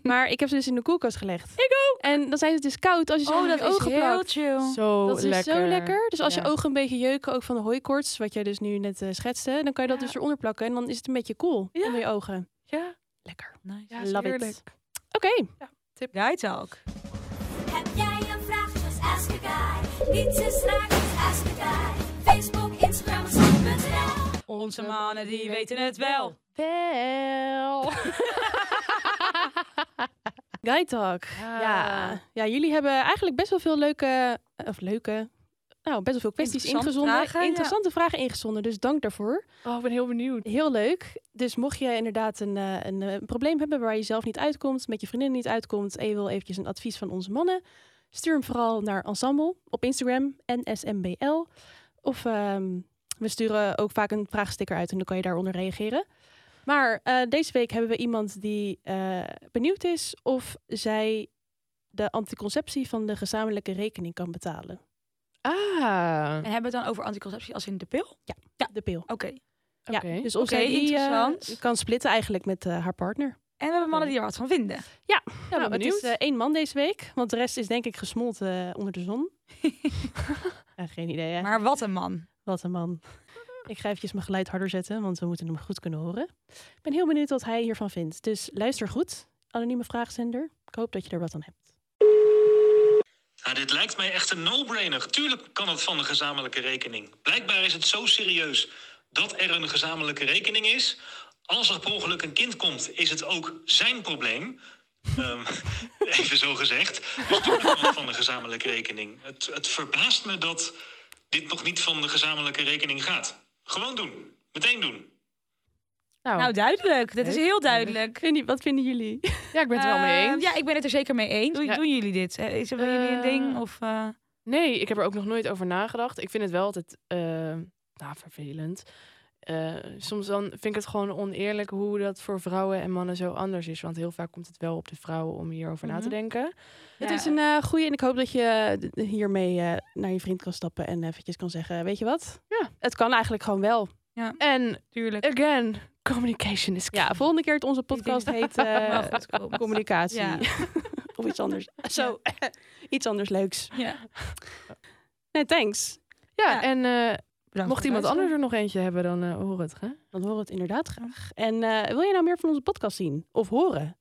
[SPEAKER 1] maar ik heb ze dus in de koelkast gelegd. Ik ook! En dan zijn ze dus koud als je ze
[SPEAKER 3] Oh,
[SPEAKER 1] onder
[SPEAKER 3] dat
[SPEAKER 1] je
[SPEAKER 3] is
[SPEAKER 1] ogen
[SPEAKER 3] heel
[SPEAKER 1] plakt.
[SPEAKER 3] chill.
[SPEAKER 2] Zo
[SPEAKER 1] Dat is dus
[SPEAKER 2] Oh, lekker.
[SPEAKER 1] zo lekker. Dus als
[SPEAKER 2] Ja.
[SPEAKER 1] je ogen een beetje jeuken, ook van de hooikoorts, wat jij dus nu net eh, schetste, dan kan je dat
[SPEAKER 2] Ja.
[SPEAKER 1] dus eronder plakken. En dan is het een beetje koel
[SPEAKER 2] Ja.
[SPEAKER 1] onder je ogen.
[SPEAKER 2] Ja,
[SPEAKER 1] Lekker.
[SPEAKER 3] Nice.
[SPEAKER 2] ja
[SPEAKER 1] Love it.
[SPEAKER 2] heerlijk.
[SPEAKER 1] Oké.
[SPEAKER 3] Guy talk.
[SPEAKER 6] Heb jij een vraag? Just ask a guy. Niets is raar, just ask a guy. Facebook, Instagram, Snap.nl.
[SPEAKER 3] Onze mannen die weten het wel.
[SPEAKER 2] Wel.
[SPEAKER 1] Guy Talk.
[SPEAKER 2] Ja.
[SPEAKER 1] Ja. ja, jullie hebben eigenlijk best wel veel leuke, eh, of leuke, nou best wel veel kwesties
[SPEAKER 3] Interessante
[SPEAKER 1] ingezonden.
[SPEAKER 3] vragen, ja.
[SPEAKER 1] interessante vragen ingezonden, dus dank daarvoor.
[SPEAKER 2] Oh, ik ben heel benieuwd.
[SPEAKER 1] Heel leuk. Dus mocht je inderdaad een, eh, een, eh, een probleem hebben waar je zelf niet uitkomt, met je vriendin niet uitkomt en je wil eventjes een advies van onze mannen, stuur hem vooral naar Ensemble op Instagram, NSMBL. Of ehm, we sturen ook vaak een vraagsticker uit en dan kan je daaronder reageren. Maar eh, deze week hebben we iemand die eh, benieuwd is of zij de anticonceptie van de gezamenlijke rekening kan betalen.
[SPEAKER 2] Ah,
[SPEAKER 3] En hebben we het dan over anticonceptie als in de pil?
[SPEAKER 1] De pil.
[SPEAKER 3] Oké.
[SPEAKER 1] Ja,
[SPEAKER 2] Oké.
[SPEAKER 1] dus of
[SPEAKER 3] Oké,
[SPEAKER 1] zij die eh,
[SPEAKER 3] interessant.
[SPEAKER 1] kan splitten eigenlijk met eh, haar partner.
[SPEAKER 3] En we hebben mannen die er wat van vinden.
[SPEAKER 2] ben
[SPEAKER 1] nou, het
[SPEAKER 2] benieuwd.
[SPEAKER 1] is eh, één man deze week, want de rest is denk ik gesmolten eh, onder de zon. Ja, geen idee. Hè?
[SPEAKER 3] Maar wat een man.
[SPEAKER 1] Wat een man. Ik ga eventjes mijn geluid harder zetten, want we moeten hem goed kunnen horen. Ik ben heel benieuwd wat hij hiervan vindt. Dus luister goed, anonieme vraagzender. Ik hoop dat je er wat aan hebt.
[SPEAKER 7] Nou, dit lijkt mij echt een no-brainer. Tuurlijk kan het van de gezamenlijke rekening. Blijkbaar is het zo serieus dat er een gezamenlijke rekening is. Als er per ongeluk een kind komt, is het ook zijn probleem. Ehm, even zo gezegd. Dus tuurlijk kan het van de gezamenlijke rekening. Het, het verbaast me dat dit nog niet van de gezamenlijke rekening gaat. Gewoon doen. Meteen doen.
[SPEAKER 2] Nou,
[SPEAKER 3] Nou, duidelijk. Dit is
[SPEAKER 2] Nee,
[SPEAKER 3] heel
[SPEAKER 2] duidelijk.
[SPEAKER 3] duidelijk.
[SPEAKER 1] Vind je- wat vinden jullie?
[SPEAKER 2] ehm, ja, ik ben het er wel mee
[SPEAKER 3] Eh,
[SPEAKER 2] eens.
[SPEAKER 3] ja, ik ben het er zeker mee eens. Doen,
[SPEAKER 2] Ja.
[SPEAKER 3] doen jullie dit? Eh, Is er bij jullie een
[SPEAKER 2] Eh,
[SPEAKER 3] ding? Of, eh,
[SPEAKER 2] Nee, ik heb er ook nog nooit over nagedacht. Ik vind het wel altijd eh, nou, vervelend. Eh, soms dan vind ik het gewoon oneerlijk hoe dat voor vrouwen en mannen zo anders is. Want heel vaak komt het wel op de vrouwen om hierover na te
[SPEAKER 3] Mhm.
[SPEAKER 2] denken.
[SPEAKER 1] Het is een eh goede en ik hoop dat je d- hiermee eh, naar je vriend kan stappen en eventjes kan zeggen, weet je wat?
[SPEAKER 2] Ja.
[SPEAKER 1] Het kan eigenlijk gewoon wel. eh,
[SPEAKER 2] En
[SPEAKER 3] tuurlijk.
[SPEAKER 2] again, communication is key.
[SPEAKER 1] Ja, volgende keer het onze podcast heet eh,
[SPEAKER 3] Wel goed komt.
[SPEAKER 1] communicatie.
[SPEAKER 3] Ja.
[SPEAKER 1] of iets anders. Zo, iets anders leuks.
[SPEAKER 3] Ja.
[SPEAKER 1] Nee, thanks.
[SPEAKER 2] Ja,
[SPEAKER 3] Ja.
[SPEAKER 2] en eh,
[SPEAKER 3] Bedankt
[SPEAKER 2] mocht
[SPEAKER 3] voor het
[SPEAKER 2] iemand anders
[SPEAKER 3] luisteren.
[SPEAKER 2] er nog eentje hebben, dan eh, hoor het. Hè?
[SPEAKER 1] Dan horen we het inderdaad graag. En eh, wil je nou meer van onze podcast zien of horen?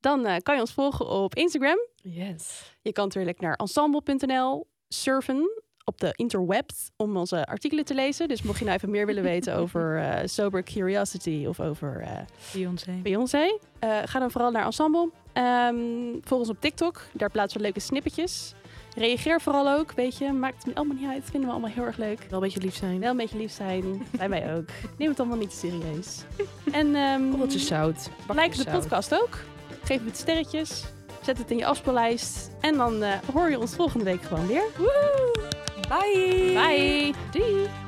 [SPEAKER 1] Dan eh, kan je ons volgen op Instagram.
[SPEAKER 2] Yes.
[SPEAKER 1] Je kan natuurlijk naar ensemble.nl surfen op de interwebs om onze artikelen te lezen. Dus mocht je nou even meer willen weten over eh, Sober Curiosity of over eh,
[SPEAKER 3] Beyoncé.
[SPEAKER 1] Beyoncé, eh, ga dan vooral naar Ensemble. Ehm volg ons op TikTok, daar plaatsen we leuke snippetjes. Reageer vooral ook, weet je, maakt het allemaal niet uit. Vinden we allemaal heel erg leuk.
[SPEAKER 2] Wel een beetje lief zijn.
[SPEAKER 1] Wel een beetje lief zijn, bij mij ook. Neem het allemaal niet te serieus. En ehm,
[SPEAKER 5] Oh,
[SPEAKER 2] Korreltjes zout.
[SPEAKER 1] like
[SPEAKER 2] bakjes
[SPEAKER 1] de
[SPEAKER 2] zout.
[SPEAKER 1] podcast ook. Geef het sterretjes. Zet het in je afspeellijst. En dan eh, hoor je ons volgende week gewoon weer.
[SPEAKER 3] Bye.
[SPEAKER 1] Bye! Doei!